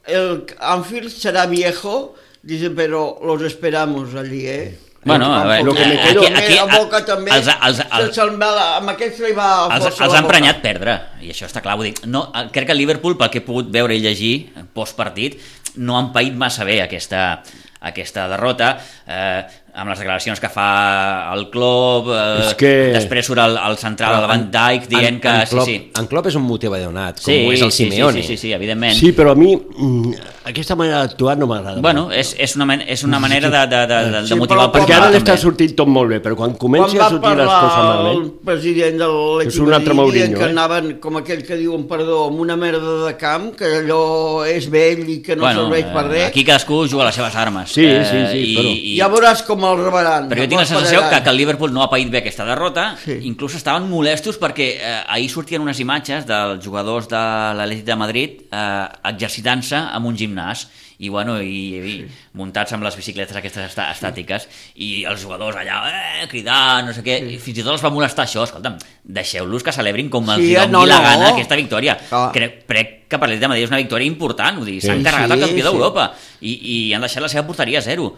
S3: el Anfield serà viejo, dice, però los esperamos allí, eh?
S5: Bueno, a veure, eh,
S4: lo que me
S3: aquí,
S4: quedo-
S3: aquí, la boca
S5: a-
S3: també,
S5: els- els- els-
S3: se'n va, la- amb aquests li va
S5: Els,
S3: força
S5: els
S3: la
S5: ha
S3: boca.
S5: emprenyat perdre, i això està clar. Vull dir, no, el- crec que el Liverpool, pel que he pogut veure i llegir postpartit, no han paït massa bé aquesta, aquesta derrota, eh, amb les declaracions que fa el Klopp, eh,
S4: És que-
S5: després surt el, el central, el Van Dijk, dient que...
S2: en Klopp,
S5: sí, sí.
S2: En Klopp és un motiu adonat, com ho és el
S5: sí,
S2: Simeone.
S5: Sí, sí, sí, sí, evidentment.
S4: Sí, però a mi mm, aquesta manera d'actuar no m'agrada.
S5: Bueno, és, és, una, man- és una manera de, de, de, de,
S3: Sí,
S5: de motivar el
S3: però-
S4: Perquè
S5: partit.
S4: ara l'està
S5: també.
S4: sortint tot molt bé, però quan
S3: quan
S4: comenci
S3: va
S4: a sortir les
S3: parlar
S4: coses
S3: el
S4: malament...
S3: president de
S4: És un altre
S3: l'Atlètic
S4: Mourinho,
S3: que
S4: eh?
S3: anaven, com aquell que diuen, perdó, amb una merda de camp, que allò és vell i que no serveix per
S5: eh,
S3: res,
S5: Aquí cadascú juga a les seves armes. eh,
S4: Sí, sí, sí,
S5: i,
S4: però-
S5: i,
S3: ja veuràs com com el reverend.
S5: Però jo
S3: amb
S5: tinc la
S3: el
S5: sensació que,
S3: Peregrán.
S5: que el Liverpool no ha paït bé aquesta derrota, sí.
S3: Sí.
S5: inclús estaven molestos perquè eh, ahir sortien unes imatges dels jugadors de l'Atlètic de Madrid eh, exercitant-se en un gimnàs i, bueno, i, i sí. muntats amb les bicicletes aquestes està, estàtiques i els jugadors allà eh, cridant, no sé què, sí. i fins i tot els va molestar això, escolta'm, deixeu-los que celebrin com els
S3: Sí,
S5: sí, doni
S3: no,
S5: no, la
S3: no.
S5: gana aquesta victòria.
S3: Clar.
S5: Crec, crec que per l'Atlètic de Madrid és una victòria important, vull dir, s'han
S4: Sí.
S5: carregat el
S3: Sí,
S5: campió
S3: sí.
S5: d'Europa i, i han deixat la seva porteria a zero.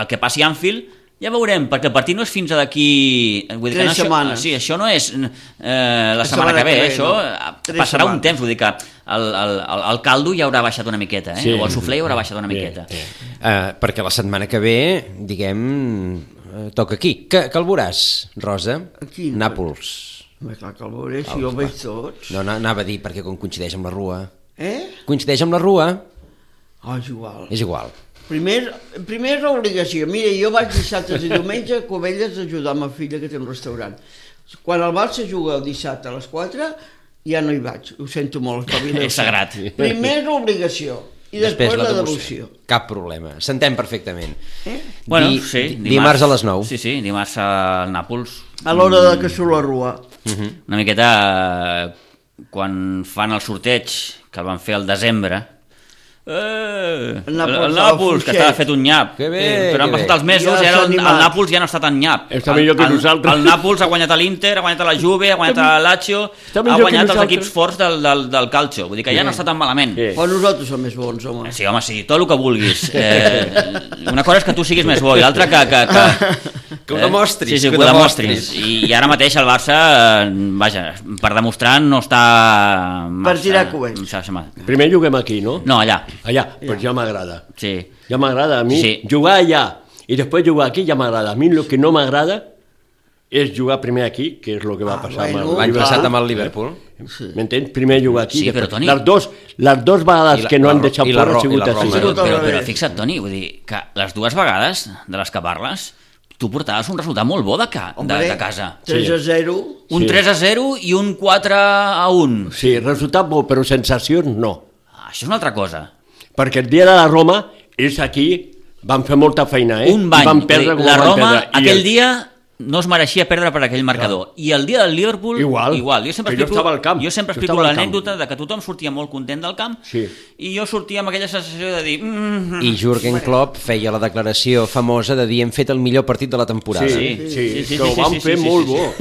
S5: El que passi a Anfield ja veurem, perquè el partit no és fins a d'aquí... vull dir que
S3: Tres
S5: no, això-
S3: setmanes.
S5: Sí, això no és eh, la setmana que ve, això
S3: no.
S5: eh,
S3: Tres
S5: passarà un
S3: setmanes.
S5: temps, vull dir que el, el, el, el caldo ja haurà baixat una miqueta, eh?
S4: Sí.
S5: Sí. o el suflé ja haurà baixat una
S4: Bé,
S5: miqueta.
S4: bé.
S2: Eh, perquè la setmana que ve, diguem, eh, toca aquí. Que, que el veuràs, Rosa?
S3: Aquí.
S2: Nàpols.
S3: Home, clar que el veuré, si jo el veig tots.
S2: No, no, anava a dir perquè com coincideix amb la rua.
S3: Eh?
S2: Coincideix amb la rua?
S3: Oh, és igual.
S5: Eh.
S2: És igual.
S3: Primer, primer és obligació. Mira, jo vaig dissabtes i diumenge a Covelles a ajudar ma filla que té un restaurant. Quan el Barça juga el dissabte a les 4, ja no hi vaig. Ho sento molt. espavila.
S5: És sagrat.
S3: Primer és l'obligació i després, la devoció.
S2: Cap problema. S'entén perfectament. Eh?
S5: Bueno, sí,
S2: dimarts. dimarts a les 9.
S5: Sí, sí, dimarts al Nàpols.
S3: A l'hora de
S5: Mm.
S3: que surt la rua.
S5: Una miqueta eh, quan fan el sorteig, que el van fer al desembre, Eh, el,
S3: El Nàpols estava
S5: el Nàpols, que
S3: fluixet.
S5: estava fet un nyap
S2: Que bé,
S5: però han
S2: que
S5: passat
S2: bé.
S5: els mesos
S3: Ja
S5: i ara
S3: s'ha
S5: el,
S3: animat.
S5: el Nàpols ja no està tan nyap
S4: Està millor que
S5: el,
S4: nosaltres.
S5: el, el Nàpols ha guanyat a l'Inter, ha guanyat a la Juve ha guanyat a la Lazio,
S4: Està
S5: ha
S4: millor que
S5: guanyat els
S4: nosaltres.
S5: equips forts del, del, del calcio vull dir que ja no està tan malament
S4: Sí.
S3: Però nosaltres som més bons, home.
S5: Ah, Sí, home, sí, tot el que vulguis. Eh, una cosa és que tu siguis més bo i l'altra que... Que, que,
S2: Que ho demostris,
S5: Eh, sí, sí,
S2: que
S5: que
S2: ho
S5: ho demostris.
S2: demostris.
S5: I, I ara mateix el Barça, eh, vaja, per demostrar no està... Massa,
S3: tirar coets.
S5: massa- massa-
S4: Primer juguem aquí, no?
S5: No, allà,
S4: Allà, doncs pues ja m'agrada.
S5: sí.
S4: Ja m'agrada a mi
S5: Sí.
S4: jugar allà i després jugar aquí ja m'agrada. A mi el que no m'agrada és jugar primer aquí, que és el que va
S3: Ah,
S4: passar
S3: bueno.
S4: amb el
S2: L'any
S4: Liverpool.
S2: passat amb el Liverpool.
S4: M'entens? Primer jugar aquí.
S5: Sí,
S4: després-
S5: però, Toni-
S4: Les dos, les dos
S2: I
S4: vegades
S2: la-
S4: que no
S2: la
S4: han
S2: Ro-
S4: deixat
S2: i la
S4: fora
S2: Ro-
S4: ha sigut
S2: i la
S4: així.
S2: Roma.
S5: Però,
S3: tot al
S5: però, però
S3: revés.
S5: fixa't, Toni, vull dir que les dues vegades de les que parles, tu portaves un resultat molt bo de, ca, de,
S3: Home,
S5: de casa.
S3: 3 a 0.
S5: Un
S4: Sí.
S5: 3 a 0 i un 4 a 1.
S4: Sí, resultat bo, però sensacions no.
S5: Això és una altra cosa.
S4: Perquè el dia de la Roma, ells aquí van fer molta feina, eh?
S5: un
S4: I
S5: bany.
S4: Van perdre com
S5: la
S4: van
S5: Roma
S4: perdre. I
S5: aquell
S4: el-
S5: dia no es mereixia perdre per aquell marcador. I el dia del Liverpool,
S4: Igual.
S5: igual. Jo sempre
S4: Que jo
S5: explico,
S4: estava al camp.
S5: jo sempre
S4: Jo
S5: explico
S4: estava al
S5: l'anècdota de que tothom sortia molt content del camp
S4: Sí.
S5: i jo sortia amb aquella sensació de dir... Mm,
S2: I Jürgen Klopp feia la declaració famosa de dir hem fet el millor partit de la temporada.
S4: Sí, sí, sí, sí, sí, que ho van
S5: sí,
S4: fer
S5: sí, sí,
S4: molt
S5: sí,
S4: bo.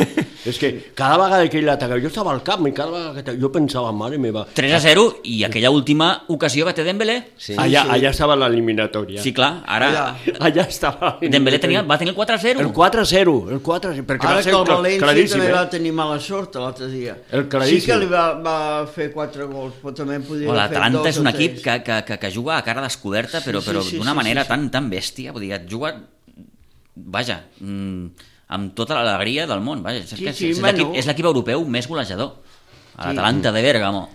S4: És que cada vegada que ell atacava, jo estava al camp i cada vegada que atacava, jo pensava, mare meva,
S5: 3 mm, a 0 i aquella última ocasió que té Dembélé.
S2: Sí.
S4: allà, allà estava l'eliminatòria.
S5: Sí, clar, ara...
S4: Allà estava.
S5: Dembélé tenia, va tenir el 4 a 0.
S4: El 4-0, el 4-0, perquè
S3: Ara
S4: va ser
S3: que el
S4: clar-
S3: València
S4: claríssim,
S3: també
S4: eh?
S3: va tenir mala sort l'altre dia.
S4: El
S3: sí
S4: claríssim.
S3: que li va, va fer 4 gols, però també podria
S5: O
S3: haver fet
S5: l'Atalanta
S3: dos
S5: és
S3: o
S5: un
S3: tres.
S5: equip que, que, que, que juga a cara descoberta, però,
S3: Sí,
S5: però
S3: sí, sí,
S5: d'una
S3: sí,
S5: manera
S3: sí, sí.
S5: tan, tan bèstia, vull dir, et juga, vaja, mm, amb tota l'alegria del món, vaja, és,
S3: Sí,
S5: que és,
S3: sí,
S5: és l'equip-
S3: bueno.
S5: és l'equip europeu més golejador, a l'Atalanta de Bèrgamo.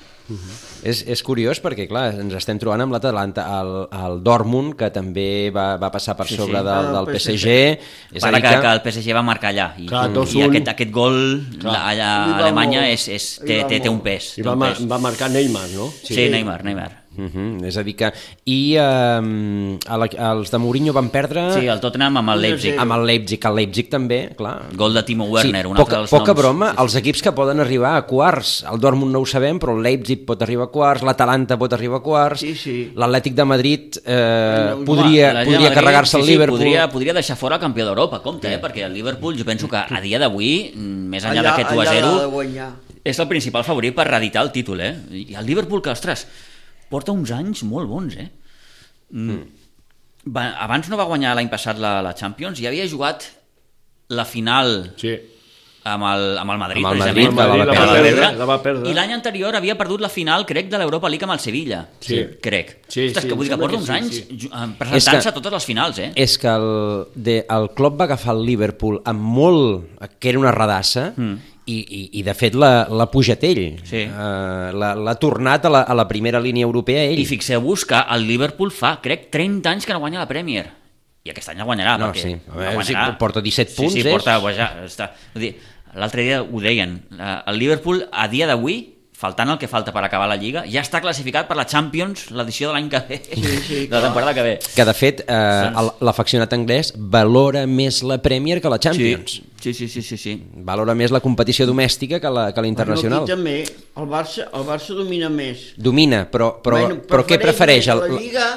S2: És, és curiós perquè, clar, ens estem trobant amb l'Atalanta, el, el Dortmund, que també va, va passar per
S5: Sí, sí.
S2: sobre
S3: Ah,
S2: del, del
S3: Del
S2: PSG. És a
S5: Para
S2: dir
S5: que, que
S2: que...
S5: el PSG va marcar allà, i,
S4: Clar,
S5: i
S4: 2-1.
S5: aquest, aquest gol
S4: Clar.
S5: la, allà
S3: Li
S5: a
S3: va
S5: Alemanya
S3: molt.
S5: és, és,
S3: Li
S5: té,
S3: va
S5: té, té un
S3: molt.
S5: pes.
S4: I
S5: Té
S4: va,
S5: un
S4: ma-
S5: pes.
S4: va marcar Neymar, no?
S5: Sí, Neymar, Neymar.
S2: Uh -huh, és a dir que... I um, els de Mourinho van perdre
S3: Ah.
S5: Sí, el Tottenham amb el Leipzig.
S2: amb el Leipzig, que el Leipzig també, clar...
S5: Gol de Timo Werner, un
S2: poca,
S5: altre dels
S2: poca
S5: noms.
S2: broma, els equips que poden arribar a quarts, el Dortmund no ho sabem, però el Leipzig pot arribar a quarts, l'Atalanta pot arribar a quarts,
S3: Sí, sí. l'Atlètic
S2: l'Atlètic de Madrid eh,
S3: Home,
S2: podria,
S5: La Lliga
S2: podria
S5: Madrid,
S2: carregar-se el
S5: sí, sí,
S2: Liverpool.
S5: Podria, podria deixar fora el campió d'Europa, compte, eh? perquè el Liverpool jo penso que a dia d'avui, mm, més enllà d'aquest
S3: allà l'ha
S5: 1-0,
S3: de guanyar.
S5: és el principal favorit per reeditar el títol. Eh? I el Liverpool, que, ostres, porta uns anys molt bons. Eh? Mm. Va, abans no va guanyar l'any passat la, la Champions i havia jugat la final
S4: Sí.
S5: amb el, amb el Madrid,
S2: Amb el Madrid,
S5: precisament.
S2: que la va
S5: Amb el
S2: perdre.
S5: Madrid,
S4: La va perdre, la va perdre.
S5: I l'any anterior havia perdut la final, crec, de l'Europa League amb el Sevilla.
S4: Sí.
S5: Crec.
S4: Sí,
S5: Ostres,
S4: sí,
S5: que vull
S4: em
S5: dir que
S4: sembla
S5: porta
S4: que
S5: uns
S4: sí,
S5: anys
S4: sí.
S5: ju- eh, presentant-se a totes les finals, eh?
S2: és que el, de, el Klopp va agafar el Liverpool amb molt... que era una radassa, mm. i, i, i de fet la- l'ha pujat ell.
S5: Hmm. Sí.
S2: Eh, l'ha l'ha tornat a la, a la primera línia europea ell.
S5: I fixeu-vos que el Liverpool fa, crec, 30 anys que no guanya la Premier. I aquest any la guanyarà,
S2: No,
S5: perquè...
S2: sí. A veure,
S5: la guanyarà.
S2: sí, porta 17
S5: sí,
S2: punts,
S5: Sí,
S2: eh?
S5: porta... Vaja, està... Vull dir, l'altre dia ho deien, eh, el Liverpool a dia d'avui faltant el que falta per acabar la Lliga, ja està classificat per la Champions l'edició de l'any que ve, sí, sí, de la temporada que ve.
S2: Que, de fet, eh, el- l'afeccionat anglès valora més la Premier que la Champions. Sí.
S5: Sí, sí, sí, sí, sí.
S2: Valora més la competició domèstica que la, que la internacional.
S3: Bueno, aquí també el Barça, el Barça domina més.
S2: Domina, però, però, bueno, però què prefereix?
S3: més
S2: El,
S3: La Lliga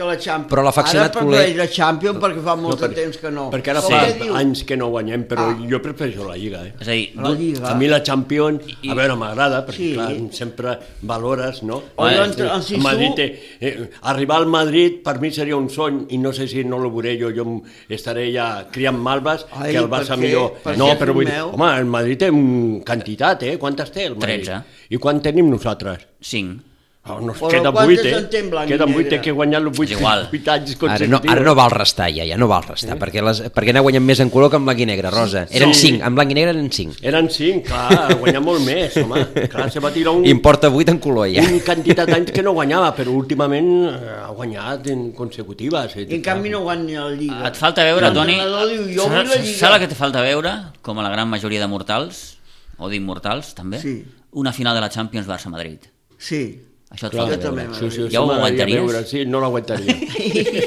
S3: que la Champions.
S2: Però l'afeccionat
S3: Ara prefereix
S2: culer-
S3: la Champions perquè fa molt de temps que no.
S4: Perquè ara
S3: Com
S4: fa
S3: que diu,
S4: anys que no guanyem, però
S3: Ah.
S4: jo prefereixo la Lliga, eh?
S5: És a dir,
S3: La Lliga.
S4: A mi la Champions, a veure, m'agrada, perquè
S3: Sí.
S4: sí. clar, sempre valores, no?
S3: O doncs,
S4: Eh,
S3: l'entre- el Sisu-
S4: Madrid, té- eh, arribar al Madrid per mi seria un sony i no sé si no lo veuré jo, jo em- estaré ja criant malves,
S3: Ai,
S4: que el
S3: per
S4: Barça
S3: què?
S4: millor...
S3: Per
S4: no,
S3: què,
S4: però vull dir,
S3: Filmeu?
S4: home, el Madrid té un quantitat, eh? Quantes té el Madrid?
S5: 13.
S4: I quant tenim nosaltres?
S5: 5.
S4: Oh, no,
S3: Però
S4: queda
S3: quantes
S4: 8,
S3: en té en
S4: eh?
S3: blanc i
S4: Queden 8,
S3: negre?
S4: eh? Que he guanyat els 8,
S5: És igual.
S4: 8 anys
S2: Ara
S4: consecutius.
S2: no, ara no val restar, ja, ja no val restar, sí. perquè, les, perquè anar guanyant més en color que en blanc i negre, Rosa. Eren
S4: Sí.
S2: 5, en blanc i negre eren 5.
S4: Eren 5, clar, guanyar molt més, home. Clar, se va tirar un,
S2: Importa 8 en color, ja.
S4: un quantitat d'anys que no guanyava, però últimament eh, ha guanyat en consecutives. Eh?
S3: I en canvi no guanya la Lliga.
S5: Et falta veure, Toni...
S3: L'entrenador diu, jo vull la
S5: saps-
S3: Lliga.
S5: Saps el que te falta veure, com a la gran majoria de mortals, o d'immortals, també?
S3: Sí.
S5: Una final de la Champions Barça-Madrid.
S3: Sí.
S5: Això et
S4: Clar,
S5: falta
S3: jo també
S5: veure.
S4: Sí, sí,
S5: ja ho
S4: m'agradaria
S5: aguantaries?
S4: veure, sí, no l'aguantaria.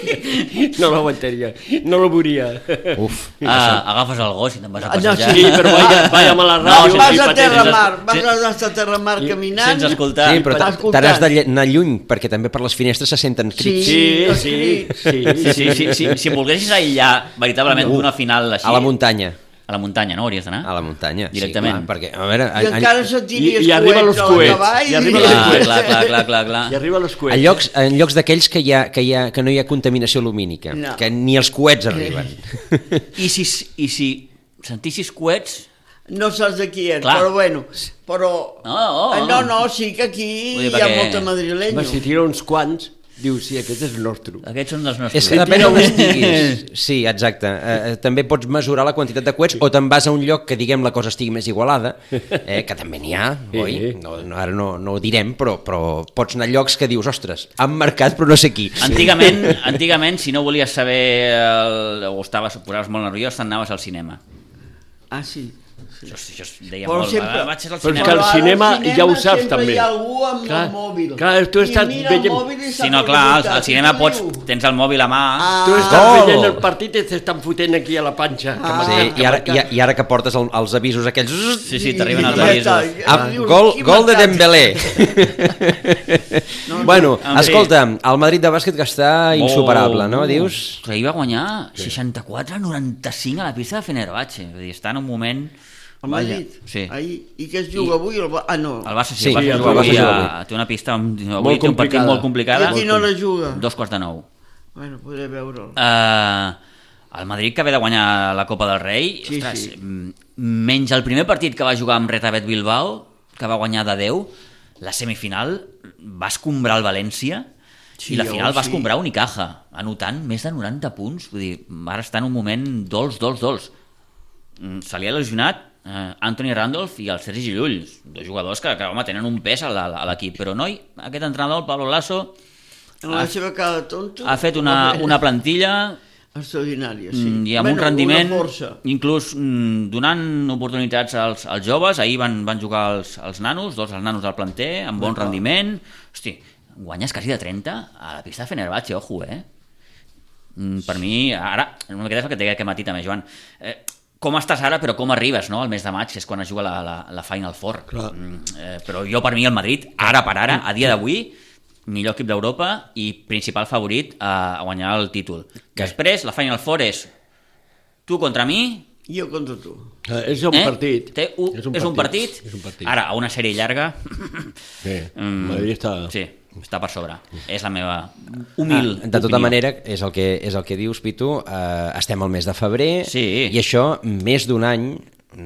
S4: no l'aguantaria, no lo veuria.
S2: Uf.
S5: Ah, agafes el gos i te'n vas a
S3: Ah, no,
S5: passejar.
S4: Sí, però vaja, vaja a la ràdio.
S5: sí,
S3: vas
S5: sí,
S3: a
S5: patents,
S3: Terra
S5: sense-
S3: Mar, vas
S5: sen-
S3: a la Terra Mar caminant.
S5: Sense escoltar.
S2: Sí, però
S3: t'ha
S2: t'ha-
S3: escoltat.
S2: t'has d'anar lluny, perquè també per les finestres se senten crits.
S4: Sí,
S3: els
S4: sí,
S3: crits.
S4: sí.
S5: Sí, sí, sí, sí, si em volguessis aïllar veritablement d'una final així...
S2: A la muntanya.
S5: A la muntanya, no hauries d'anar?
S2: A la muntanya,
S5: Directament.
S2: sí, clar, perquè, a veure,
S3: I encara
S4: I-
S3: sentiries
S4: i arriben els
S3: al
S4: coets,
S3: cavall
S4: i arriben
S5: Clar,
S4: els
S2: Ah,
S3: diries,
S4: coets.
S5: clar, clar, clar, clar, clar.
S4: I arriba a les
S2: a
S4: cues.
S2: llocs, en llocs d'aquells que, hi ha, que, hi ha, que no hi ha contaminació lumínica,
S3: No.
S2: que ni els coets arriben.
S5: I si, i si sentissis coets,
S3: No saps de qui ets,
S5: Clar.
S3: però bueno. Però...
S5: No, oh, oh.
S3: Eh, no, no, sí que aquí
S5: Vull dir,
S3: hi ha
S5: perquè-
S3: molta madrileño.
S4: Va, si tira uns quants, diu, sí, aquest és el nostre.
S5: aquests són dels nostres.
S2: És que depèn on estiguis. Sí, exacte. Eh, eh, també pots mesurar la quantitat de coets o te'n vas a un lloc que, diguem, la cosa estigui més igualada, eh, que també n'hi ha,
S4: Sí.
S2: oi? No, no, ara no, no ho direm, però, però pots anar a llocs que dius, ostres, han marcat però no sé qui.
S5: Antigament, antigament, si no volies saber el, o estaves, posaves molt nerviós, t'anaves al cinema.
S3: Ah, sí.
S5: Això, això es deia
S3: Però
S5: molt.
S3: sempre-
S5: "Ah, Vaig al
S4: Però és que el
S5: cinema.
S3: Però ara al
S4: cinema ja ho saps,
S3: sempre
S4: també.
S3: Hi ha algú amb clar,
S4: Clar,
S3: el mòbil.
S4: clar, tu
S3: I
S4: estàs
S3: mira
S4: veient-
S3: el mòbil i
S5: Si no, clar, al, al cinema pots, tens el mòbil a mà...
S3: Ah.
S4: Tu estàs
S5: Oh!
S2: Gol!
S4: veient el partit i t'estan fotent aquí a la panxa. Que
S3: Ah.
S2: Sí,
S4: marquen,
S2: i,
S4: que
S2: ara,
S4: marquen.
S2: i, i ara que portes el, els avisos aquells...
S5: Sí, sí, t'arriben els avisos.
S2: Ah, gol, gol de Dembélé. no, bueno,
S5: en fi.
S2: escolta, el Madrid de bàsquet que està insuperable,
S5: Oh,
S2: no? Dius?
S5: Que ahir va guanyar 64-95 a la pista de Fenerbahçe. Vull dir, està en un moment...
S3: El Madrid.
S5: Vaja, Sí.
S3: Ahir, I què es juga avui? El... Ba- Ah, no.
S5: El Barça
S2: Sí,
S5: sí, el Barça,
S4: el
S5: juga
S4: Barça
S5: avui
S2: juga
S5: a-
S2: avui.
S5: té una pista amb, avui
S4: Molt
S5: té un partit
S4: complicada.
S5: molt complicada.
S3: I a quina hora juga?
S5: Dos quarts de nou.
S3: Bueno, podré veure'l.
S5: Uh, el Madrid que ve de guanyar la Copa del Rei,
S3: Sí,
S5: ostres,
S3: sí.
S5: m- menys el primer partit que va jugar amb Retabet Bilbao, que va guanyar de 10, la semifinal va escombrar el València
S3: Sí,
S5: i la
S3: home,
S5: final va
S3: sí.
S5: escombrar Unicaja, anotant més de 90 punts. Vull dir, ara està en un moment dolç, dolç, dolç. Mm, Se li ha lesionat eh, Anthony Randolph i el Sergi Llull, dos jugadors que, que home, tenen un pes a la- a l'equip. Però, noi, aquest entrenador, el Pablo Lasso,
S3: En la seva cara de tonto...
S5: ha fet una, una plantilla
S3: Extraordinària, sí.
S5: Mm, i amb
S3: Bueno,
S5: un rendiment,
S3: Una força.
S5: inclús mm, donant oportunitats als, als joves, ahir van, van jugar els, els nanos, dos els nanos del planter, amb bon rendiment, hosti, guanyes quasi de 30 a la pista de Fenerbahçe, ojo, eh? Mm, per mi, ara, una miqueta és el que et deia aquest matí també, Joan, eh, com estàs ara, però com arribes, no?, al mes de maig, que és quan es juga la, la, la Final Four. Mm, eh, però jo, per mi, el Madrid, ara per ara, a dia d'avui, millor equip d'Europa i principal favorit a, a guanyar el títol. Després, la Final Four és tu contra mi,
S3: Jo contra tu.
S4: Eh, És un
S5: eh?
S4: partit.
S5: Té un, és, un és, un partit. Ah,
S4: És un partit.
S5: Ara, a una sèrie llarga,
S4: Sí, Madrid està...
S5: Mm. sí, està per sobre. És la meva humil
S2: De tota
S5: opinió.
S2: manera, és el que, és el que dius, Pitu, eh, estem al mes de febrer
S5: Sí.
S2: i això, més d'un any,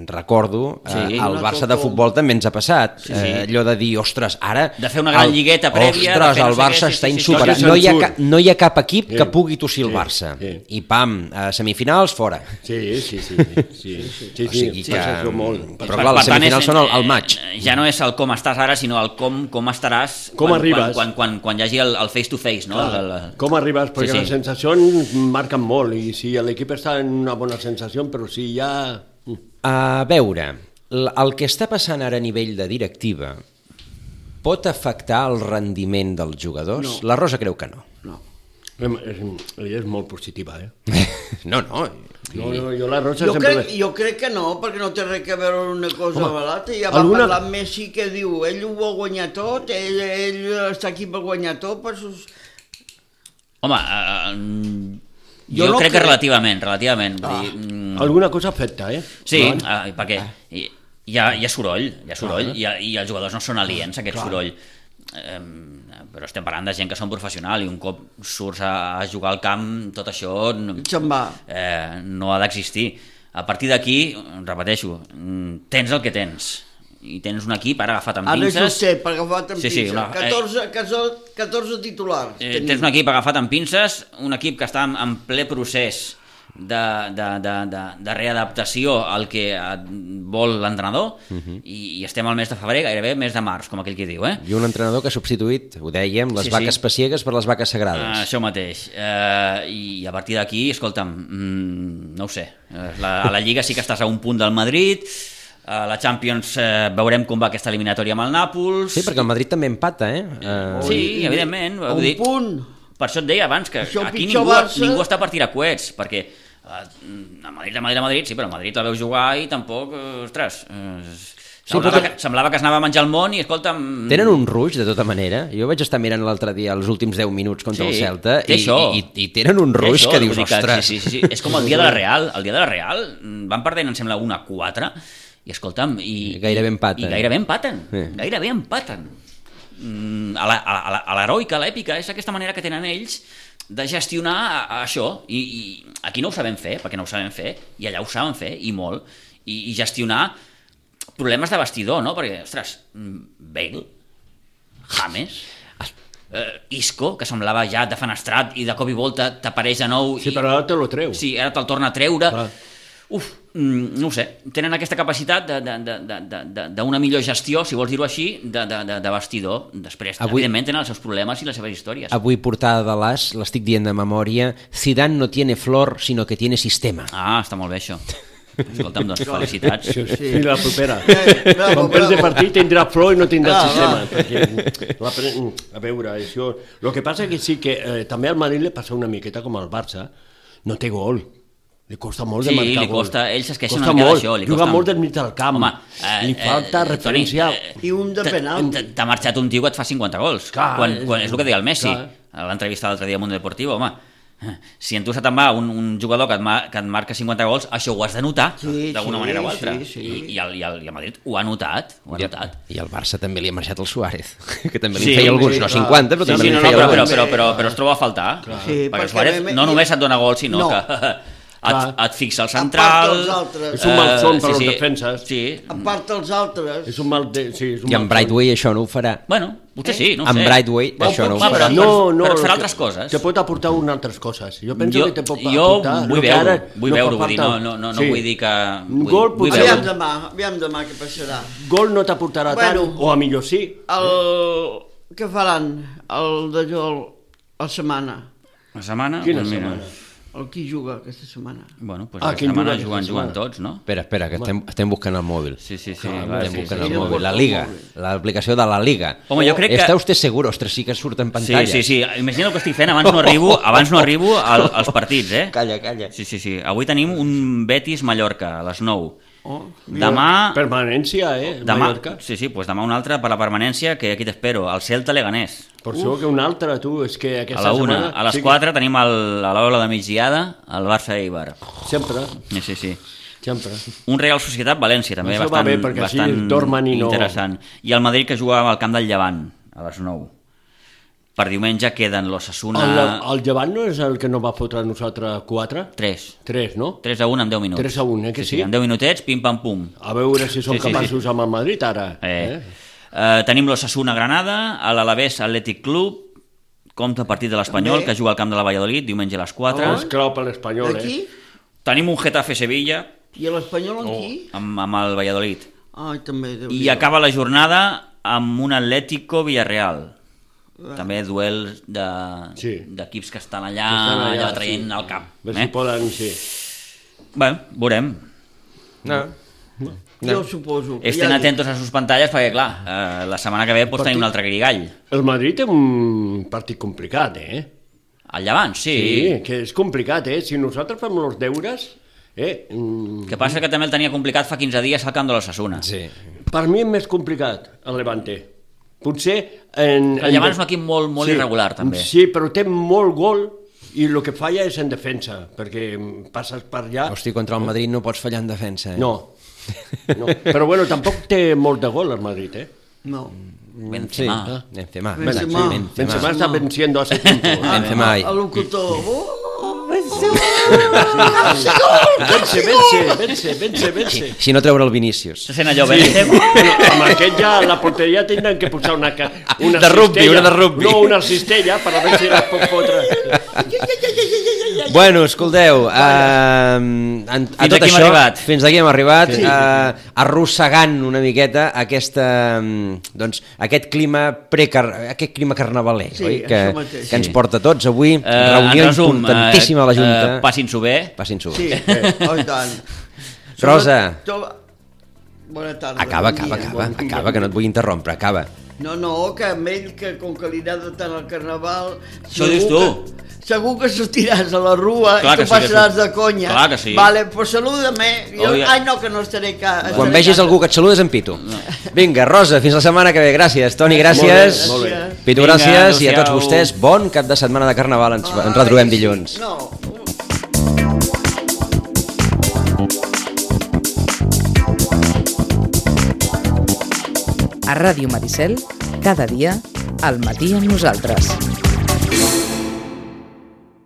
S2: recordo, eh,
S5: Sí.
S2: al
S3: Una
S2: Barça de
S3: cocom.
S2: futbol també ens ha passat.
S5: sí.
S2: Eh, allò de dir, ostres, ara...
S5: De fer una gran lligueta prèvia, de
S2: Ostres,
S5: fer no
S2: el
S5: sé
S2: Barça
S5: què, sí,
S2: està
S5: sí, sí,
S2: insuperable.
S4: sí, sí.
S2: No, hi ha
S4: Se'n
S2: ca-
S4: surt.
S2: no hi ha cap equip que
S4: Sí.
S2: pugui tossir el
S4: Sí,
S2: Barça.
S4: sí.
S2: I pam, a semifinals, fora.
S4: Sí, sí, sí, sí, sí, sí,
S2: O sigui
S4: sí,
S2: que-
S4: passa això molt.
S2: Però clar, les semifinals són al- al maig.
S5: eh, Ja no és el com estàs ara, sinó el com, com estaràs
S4: Com
S5: quan,
S4: arribes.
S5: quan, quan, quan, quan hi hagi el, el face to face, no? El, el,
S4: Com arribes? Perquè
S5: Sí,
S4: sí,
S5: sí.
S4: sí. les sensacions marquen molt i si l'equip està en una bona sensació, però si ja... mm,
S2: A veure, l- el que està passant ara a nivell de directiva pot afectar el rendiment dels jugadors? No. La Rosa creu que no.
S3: No.
S4: Em- És, ella és molt positiva, eh?
S2: no, no.
S4: No, no, jo la Rosa
S3: Jo
S4: sempre...
S3: crec, jo crec que no, perquè no té res que veure una cosa
S4: Home,
S3: amb l'altra. Ja va
S4: alguna-
S3: alguna... parlar amb Messi que diu, ell ho vol guanyar tot, ell, ell està aquí per guanyar tot, per sus...
S5: Home, eh, mm,
S3: Jo
S5: jo,
S3: no
S5: jo crec que
S3: crec.
S5: relativament, relativament. Ah. Dir, mm,
S4: Alguna cosa afecta, eh?
S3: Doncs,
S5: sí,
S4: Joan?
S5: ah, perquè hi, hi, ha, hi ha soroll, hi ha
S3: Ah.
S5: soroll, i, i els jugadors no són aliens a aquest soroll. Em, però estem parlant de gent que són professional i un cop surts a, a jugar al camp, tot això... no-
S3: Se'n va.
S5: eh, no ha d'existir. A partir d'aquí, repeteixo, mm, tens el que tens. I tens un equip ara agafat amb
S3: Ara és
S5: pinces.
S3: vostè, per agafar amb
S5: Sí, sí,
S3: pinces.
S5: una- eh.
S3: 14, 14, 14 titulars.
S5: Eh, tens un equip agafat amb pinces, un equip que està en, en ple procés de, de, de, de, de readaptació al que et vol l'entrenador uh -huh. i, i estem al mes de febrer, gairebé mes de març, com aquell que diu, eh?
S2: I un entrenador que ha substituït, ho dèiem, les
S5: Sí,
S2: sí,
S5: sí.
S2: vaques sí. pessiegues per les vaques
S5: Uh,
S2: sagrades.
S5: això mateix. Uh, I a partir d'aquí, escolta'm, mm, no ho sé. Eh, La, a la Lliga sí que estàs a un punt del Madrid, a la Champions eh, veurem com va aquesta eliminatòria amb el Nàpols.
S2: Sí, perquè el Madrid també empata, eh? eh
S5: Sí, evidentment.
S3: Un
S5: vull dir,
S3: punt.
S5: Per això et deia abans que
S3: Això,
S5: aquí
S3: pitjor
S5: ningú,
S3: Barça-
S5: ningú està per tirar coets, perquè eh, a Madrid, a Madrid, a Madrid, sí, però a Madrid el veus jugar i tampoc, eh, ostres... Eh, semblava,
S2: però-
S5: que, semblava que es anava a menjar el món i escolta'm...
S2: Tenen un ruix, de tota manera. Jo vaig estar mirant l'altre dia els últims 10 minuts contra
S5: Sí,
S2: el Celta
S5: té
S2: i,
S5: això.
S2: i, i tenen un ruix
S5: Això,
S2: que dius,
S5: vull dir
S2: ostres...
S5: Sí, sí, sí. És com el dia de la Real. El dia de la Real mm, van perdent, em sembla, una 4 i escolta'm... I,
S2: I gairebé empaten.
S5: I gairebé empaten.
S2: Sí.
S5: Sí. Gairebé empaten. Mm, A la- a la- a l'heroica, a l'èpica, és aquesta manera que tenen ells de gestionar a, a això. I, I aquí no ho sabem fer, perquè no ho sabem fer, i allà ho saben fer, i molt. I, i gestionar problemes de vestidor, no? Perquè, ostres, mm, Bale, James... Eh, Isco, que semblava ja defenestrat i de cop i volta t'apareix de nou
S4: Sí,
S5: i-
S4: però ara te lo treu.
S5: Sí, ara te'l torna a treure.
S4: Clar.
S5: Uf, mm, no ho sé. Tenen aquesta capacitat de- de- de- de- de- de- d'una millor gestió, si vols dir-ho així, de, de, de, de vestidor. Després,
S2: Avui-
S5: Avui... evidentment, tenen els seus problemes i les seves històries.
S2: Avui portada de l'As, l'estic dient de memòria, Zidane no tiene flor, sinó que tiene sistema.
S5: Ah, està molt bé, això. Escolta'm, doncs, felicitats.
S4: Sí, sí. I la propera.
S3: Eh, bravo,
S4: Quan perds de
S3: bravo.
S4: partit tindrà flor i no tindrà
S3: Ah,
S4: sistema.
S3: va.
S4: Perquè, la, pre- a veure, això... El que passa que sí que eh, també al Madrid li passa una miqueta com al Barça. No té gol. Li costa molt de
S5: Sí,
S4: marcar
S5: li
S4: gol.
S5: costa- ell s'esqueixa
S4: Costa
S5: una mica
S4: molt.
S5: d'això, li
S4: Juga
S5: costa-
S4: molt del mig del camp.
S5: Home,
S4: eh,
S5: eh,
S4: li
S5: eh,
S4: falta
S5: Toni,
S4: referència...
S5: eh,
S3: I un de
S5: T'ha-
S3: penalti.
S5: t'ha- T'ha marxat un tio que et fa 50 gols.
S4: Clar,
S5: quan,
S4: és-
S5: quan, és el que deia el Messi
S4: clar.
S5: a l'entrevista l'altre dia a Mundo Deportivo, home. Si en tu se te'n va un, un jugador que et, ma, que et marca 50 gols, això ho has de notar
S3: Sí,
S5: d'alguna
S3: sí,
S5: manera o altra.
S3: sí, sí.
S5: I, i, el, i, el, I el Madrid ho ha notat. Ho ha
S2: I,
S5: notat.
S2: I al Barça també li ha marxat el Suárez, que també li
S5: Sí,
S2: sí, feia alguns,
S3: sí,
S2: no
S3: clar.
S2: 50, però
S5: Sí,
S2: també
S5: sí, no,
S2: li
S5: no,
S2: feia
S5: però, però,
S2: alguns.
S5: però, però, però es troba a faltar.
S3: Sí,
S5: perquè
S3: perquè
S5: el Suárez
S3: ve-
S5: no només et dona gols, sinó
S3: No.
S5: que
S4: eh, Clar.
S5: et, et fixa el
S3: Aparta
S5: central...
S3: els altres.
S4: És un malson
S5: eh,
S4: per als defenses.
S5: Sí.
S3: A part dels altres,
S4: És un mal... De, sí, és un
S2: I en
S4: mal
S2: Brightway això no ho farà.
S5: Bueno, potser sí, no ho
S2: En
S5: sé.
S2: Brightway
S3: Bueno,
S2: això no ho
S5: va,
S2: farà.
S5: però-
S4: no,
S5: doncs,
S4: no,
S5: però et farà
S4: que-
S5: altres coses.
S4: Te pot aportar unes altres coses. Jo penso
S5: Jo-
S4: que te pot
S5: jo
S4: aportar...
S5: vull
S4: el que
S5: veure-ho,
S4: ara
S5: vull
S4: no fa
S5: veure-ho, vull dir,
S4: falta.
S5: no- no- no- no vull dir que-
S4: Un
S5: vull-
S4: Gol,
S5: vull
S4: potser-
S5: veure-ho.
S3: aviam demà, aviam demà què passarà.
S4: gol no t'aportarà bueno.
S3: Bueno.
S4: tant, o a millor sí.
S3: El... Què faran el de Jol la setmana?
S5: La setmana...
S4: Quina
S5: doncs mira,
S4: setmana?
S3: El qui juga aquesta setmana?
S5: Bueno, pues
S4: Ah,
S5: ah, la
S4: quin
S5: setmana
S4: jugador
S5: juguen,
S4: aquesta
S5: juguen
S4: setmana?
S5: tots, no?
S2: Espera, espera, que estem, estem buscant el mòbil.
S5: Sí, sí, sí.
S4: Clar,
S5: va,
S2: Estem
S5: sí,
S2: buscant
S5: sí,
S2: el
S5: sí.
S2: mòbil, la Liga, l'aplicació de la Liga.
S5: Home, jo crec que-
S2: Està usted segur? Ostres, sí que surt en
S5: Sí,
S2: pantalla.
S5: sí, sí. Imagina el que estic fent, abans no arribo, abans no arribo al, als partits, eh?
S2: Calla, calla.
S5: Sí, sí, sí. Avui tenim un Betis-Mallorca a les 9.
S3: Oh, mira.
S5: Demà...
S4: Permanència, eh?
S5: Demà,
S4: Mallorca.
S5: sí, sí, pues demà un altre per la permanència, que aquí t'espero, el Celta Leganés.
S4: Per això que un altre, tu, és que aquesta
S5: A la una.
S4: setmana...
S5: A les
S4: sí que-
S5: 4 tenim el, a l'hora de migdiada el Barça-Eibar.
S4: Sempre,
S5: Sí, sí, sí.
S4: sempre.
S5: Un Real Societat València també
S4: Això va
S5: bastant,
S4: bé, perquè així
S5: bastant
S4: dormen i no-
S5: interessant. I el Madrid que jugava al camp del Llevant a les 9. Per diumenge queden l'Ossassuna
S4: El,
S5: el...
S4: el llevant no és el que no va fotre a nosaltres 4?
S5: 3.
S4: 3, no?
S5: 3 a 1 en 10 minuts.
S4: 3 a 1, eh, que sí?
S5: En 10 minutets, pim-pam-pum.
S4: A veure si som sí,
S5: Sí, sí,
S4: capaços amb el Madrid ara.
S5: Eh. Eh, tenim l'Ossassuna Granada, a l'Alavés Atlètic Club, compte partit de l'Espanyol,
S3: També.
S5: que juga al camp de la Valladolid diumenge a les 4.
S4: És clau per l'Espanyol,
S3: Aquí?
S4: eh?
S5: Tenim un Getafe Sevilla Oh,
S3: I l'Espanyol
S2: Oh.
S3: aquí?
S5: amb, amb el Valladolid.
S3: Ai, també, déu
S5: I acaba la jornada amb un Atlético Villarreal. També duel d'equips
S4: Sí.
S5: de, d'equips que estan allà,
S4: Estan
S5: allà,
S4: allà,
S5: allà traient
S4: sí.
S5: sí. el cap.
S4: A veure
S5: Eh?
S4: si poden... Sí.
S5: Bé, veurem.
S2: No.
S3: jo suposo. que
S5: Estén
S3: ja dic,
S5: atentos a sus pantalles perquè, clar, eh, la setmana que ve pots tenir un altre guirigall.
S4: El Madrid té un partit complicat, eh?
S5: Al llevant, sí.
S4: Sí, que és complicat, eh? Si nosaltres fem els deures, eh? mm,
S5: Que passa que també el tenia complicat fa 15 dies al camp de l'Ossassuna.
S2: Sí.
S4: Per mi és més complicat el Levante. Potser... En,
S5: El Llevant és un equip molt, molt irregular, també.
S4: Sí, però té molt gol i el que falla és en defensa, perquè passes per allà...
S2: Hosti, contra el Madrid no pots fallar en defensa, eh?
S4: No, no. Però bueno, tampoc té molt de gol el Madrid, eh?
S3: No.
S5: Benzema.
S2: Sí. Benzema.
S3: Benzema.
S2: Sí,
S4: Benzema està
S3: No.
S4: venciendo hace tiempo.
S5: Ah.
S2: Benzema.
S3: El locutor. Oh,
S4: Vence, vence, vence, vence, vence.
S2: Si no treure el Vinícius.
S5: Se sent allò, Benzema.
S4: Bueno, amb aquest ja a la porteria tindran que posar una, ca- una
S2: De rugbi,
S4: cistella.
S2: una de rugbi.
S4: No, una cistella per a veure si la pot fotre.
S2: Bueno, escolteu, uh, a, a
S5: Fins
S2: tot
S5: aquí hem
S2: això,
S5: arribat.
S2: fins aquí hem arribat, sí. uh, arrossegant una miqueta aquesta, mm, doncs, aquest clima precar aquest clima carnavaler,
S3: Sí,
S2: oi?
S3: això
S2: Que,
S3: mateix.
S2: que ens porta a tots avui,
S5: Eh,
S2: reunió
S5: en resum,
S2: importantíssima a la Junta.
S5: eh, Passin-s'ho bé.
S2: Passin-s'ho bé.
S3: Sí, eh, oh, i tant.
S2: Rosa.
S3: Sobre- to- Bona tarda.
S2: Acaba,
S3: bon
S2: acaba,
S3: dia,
S2: acaba,
S3: bon dia.
S2: acaba, que no et vull interrompre, acaba.
S3: No, no, que amb ell, que com que li agrada tant el carnaval...
S5: Això
S3: segur
S5: dius tu.
S3: Que, segur que sortiràs a la rua
S5: Clar
S3: i
S5: que
S3: tu
S5: sí que
S3: passaràs
S5: surt.
S3: de conya.
S5: Clar que sí.
S3: Vale, pues saluda-me. Jo,
S5: Oi,
S3: ai, no, que no estaré ca...
S2: Quan
S3: estaré
S2: vegis
S3: casa.
S2: algú que et saludes, em pito. Vinga, Rosa, fins la setmana que ve. Gràcies, Toni, gràcies.
S4: Molt bé,
S3: molt bé.
S2: Pitu,
S5: Vinga,
S2: gràcies. I a tots
S5: adéu-siau.
S2: vostès, bon cap de setmana de Carnaval. Ens, ens
S3: Ai,
S2: retrobem
S3: sí.
S2: dilluns.
S3: No,
S1: A Ràdio Maricel, cada dia, al matí amb nosaltres.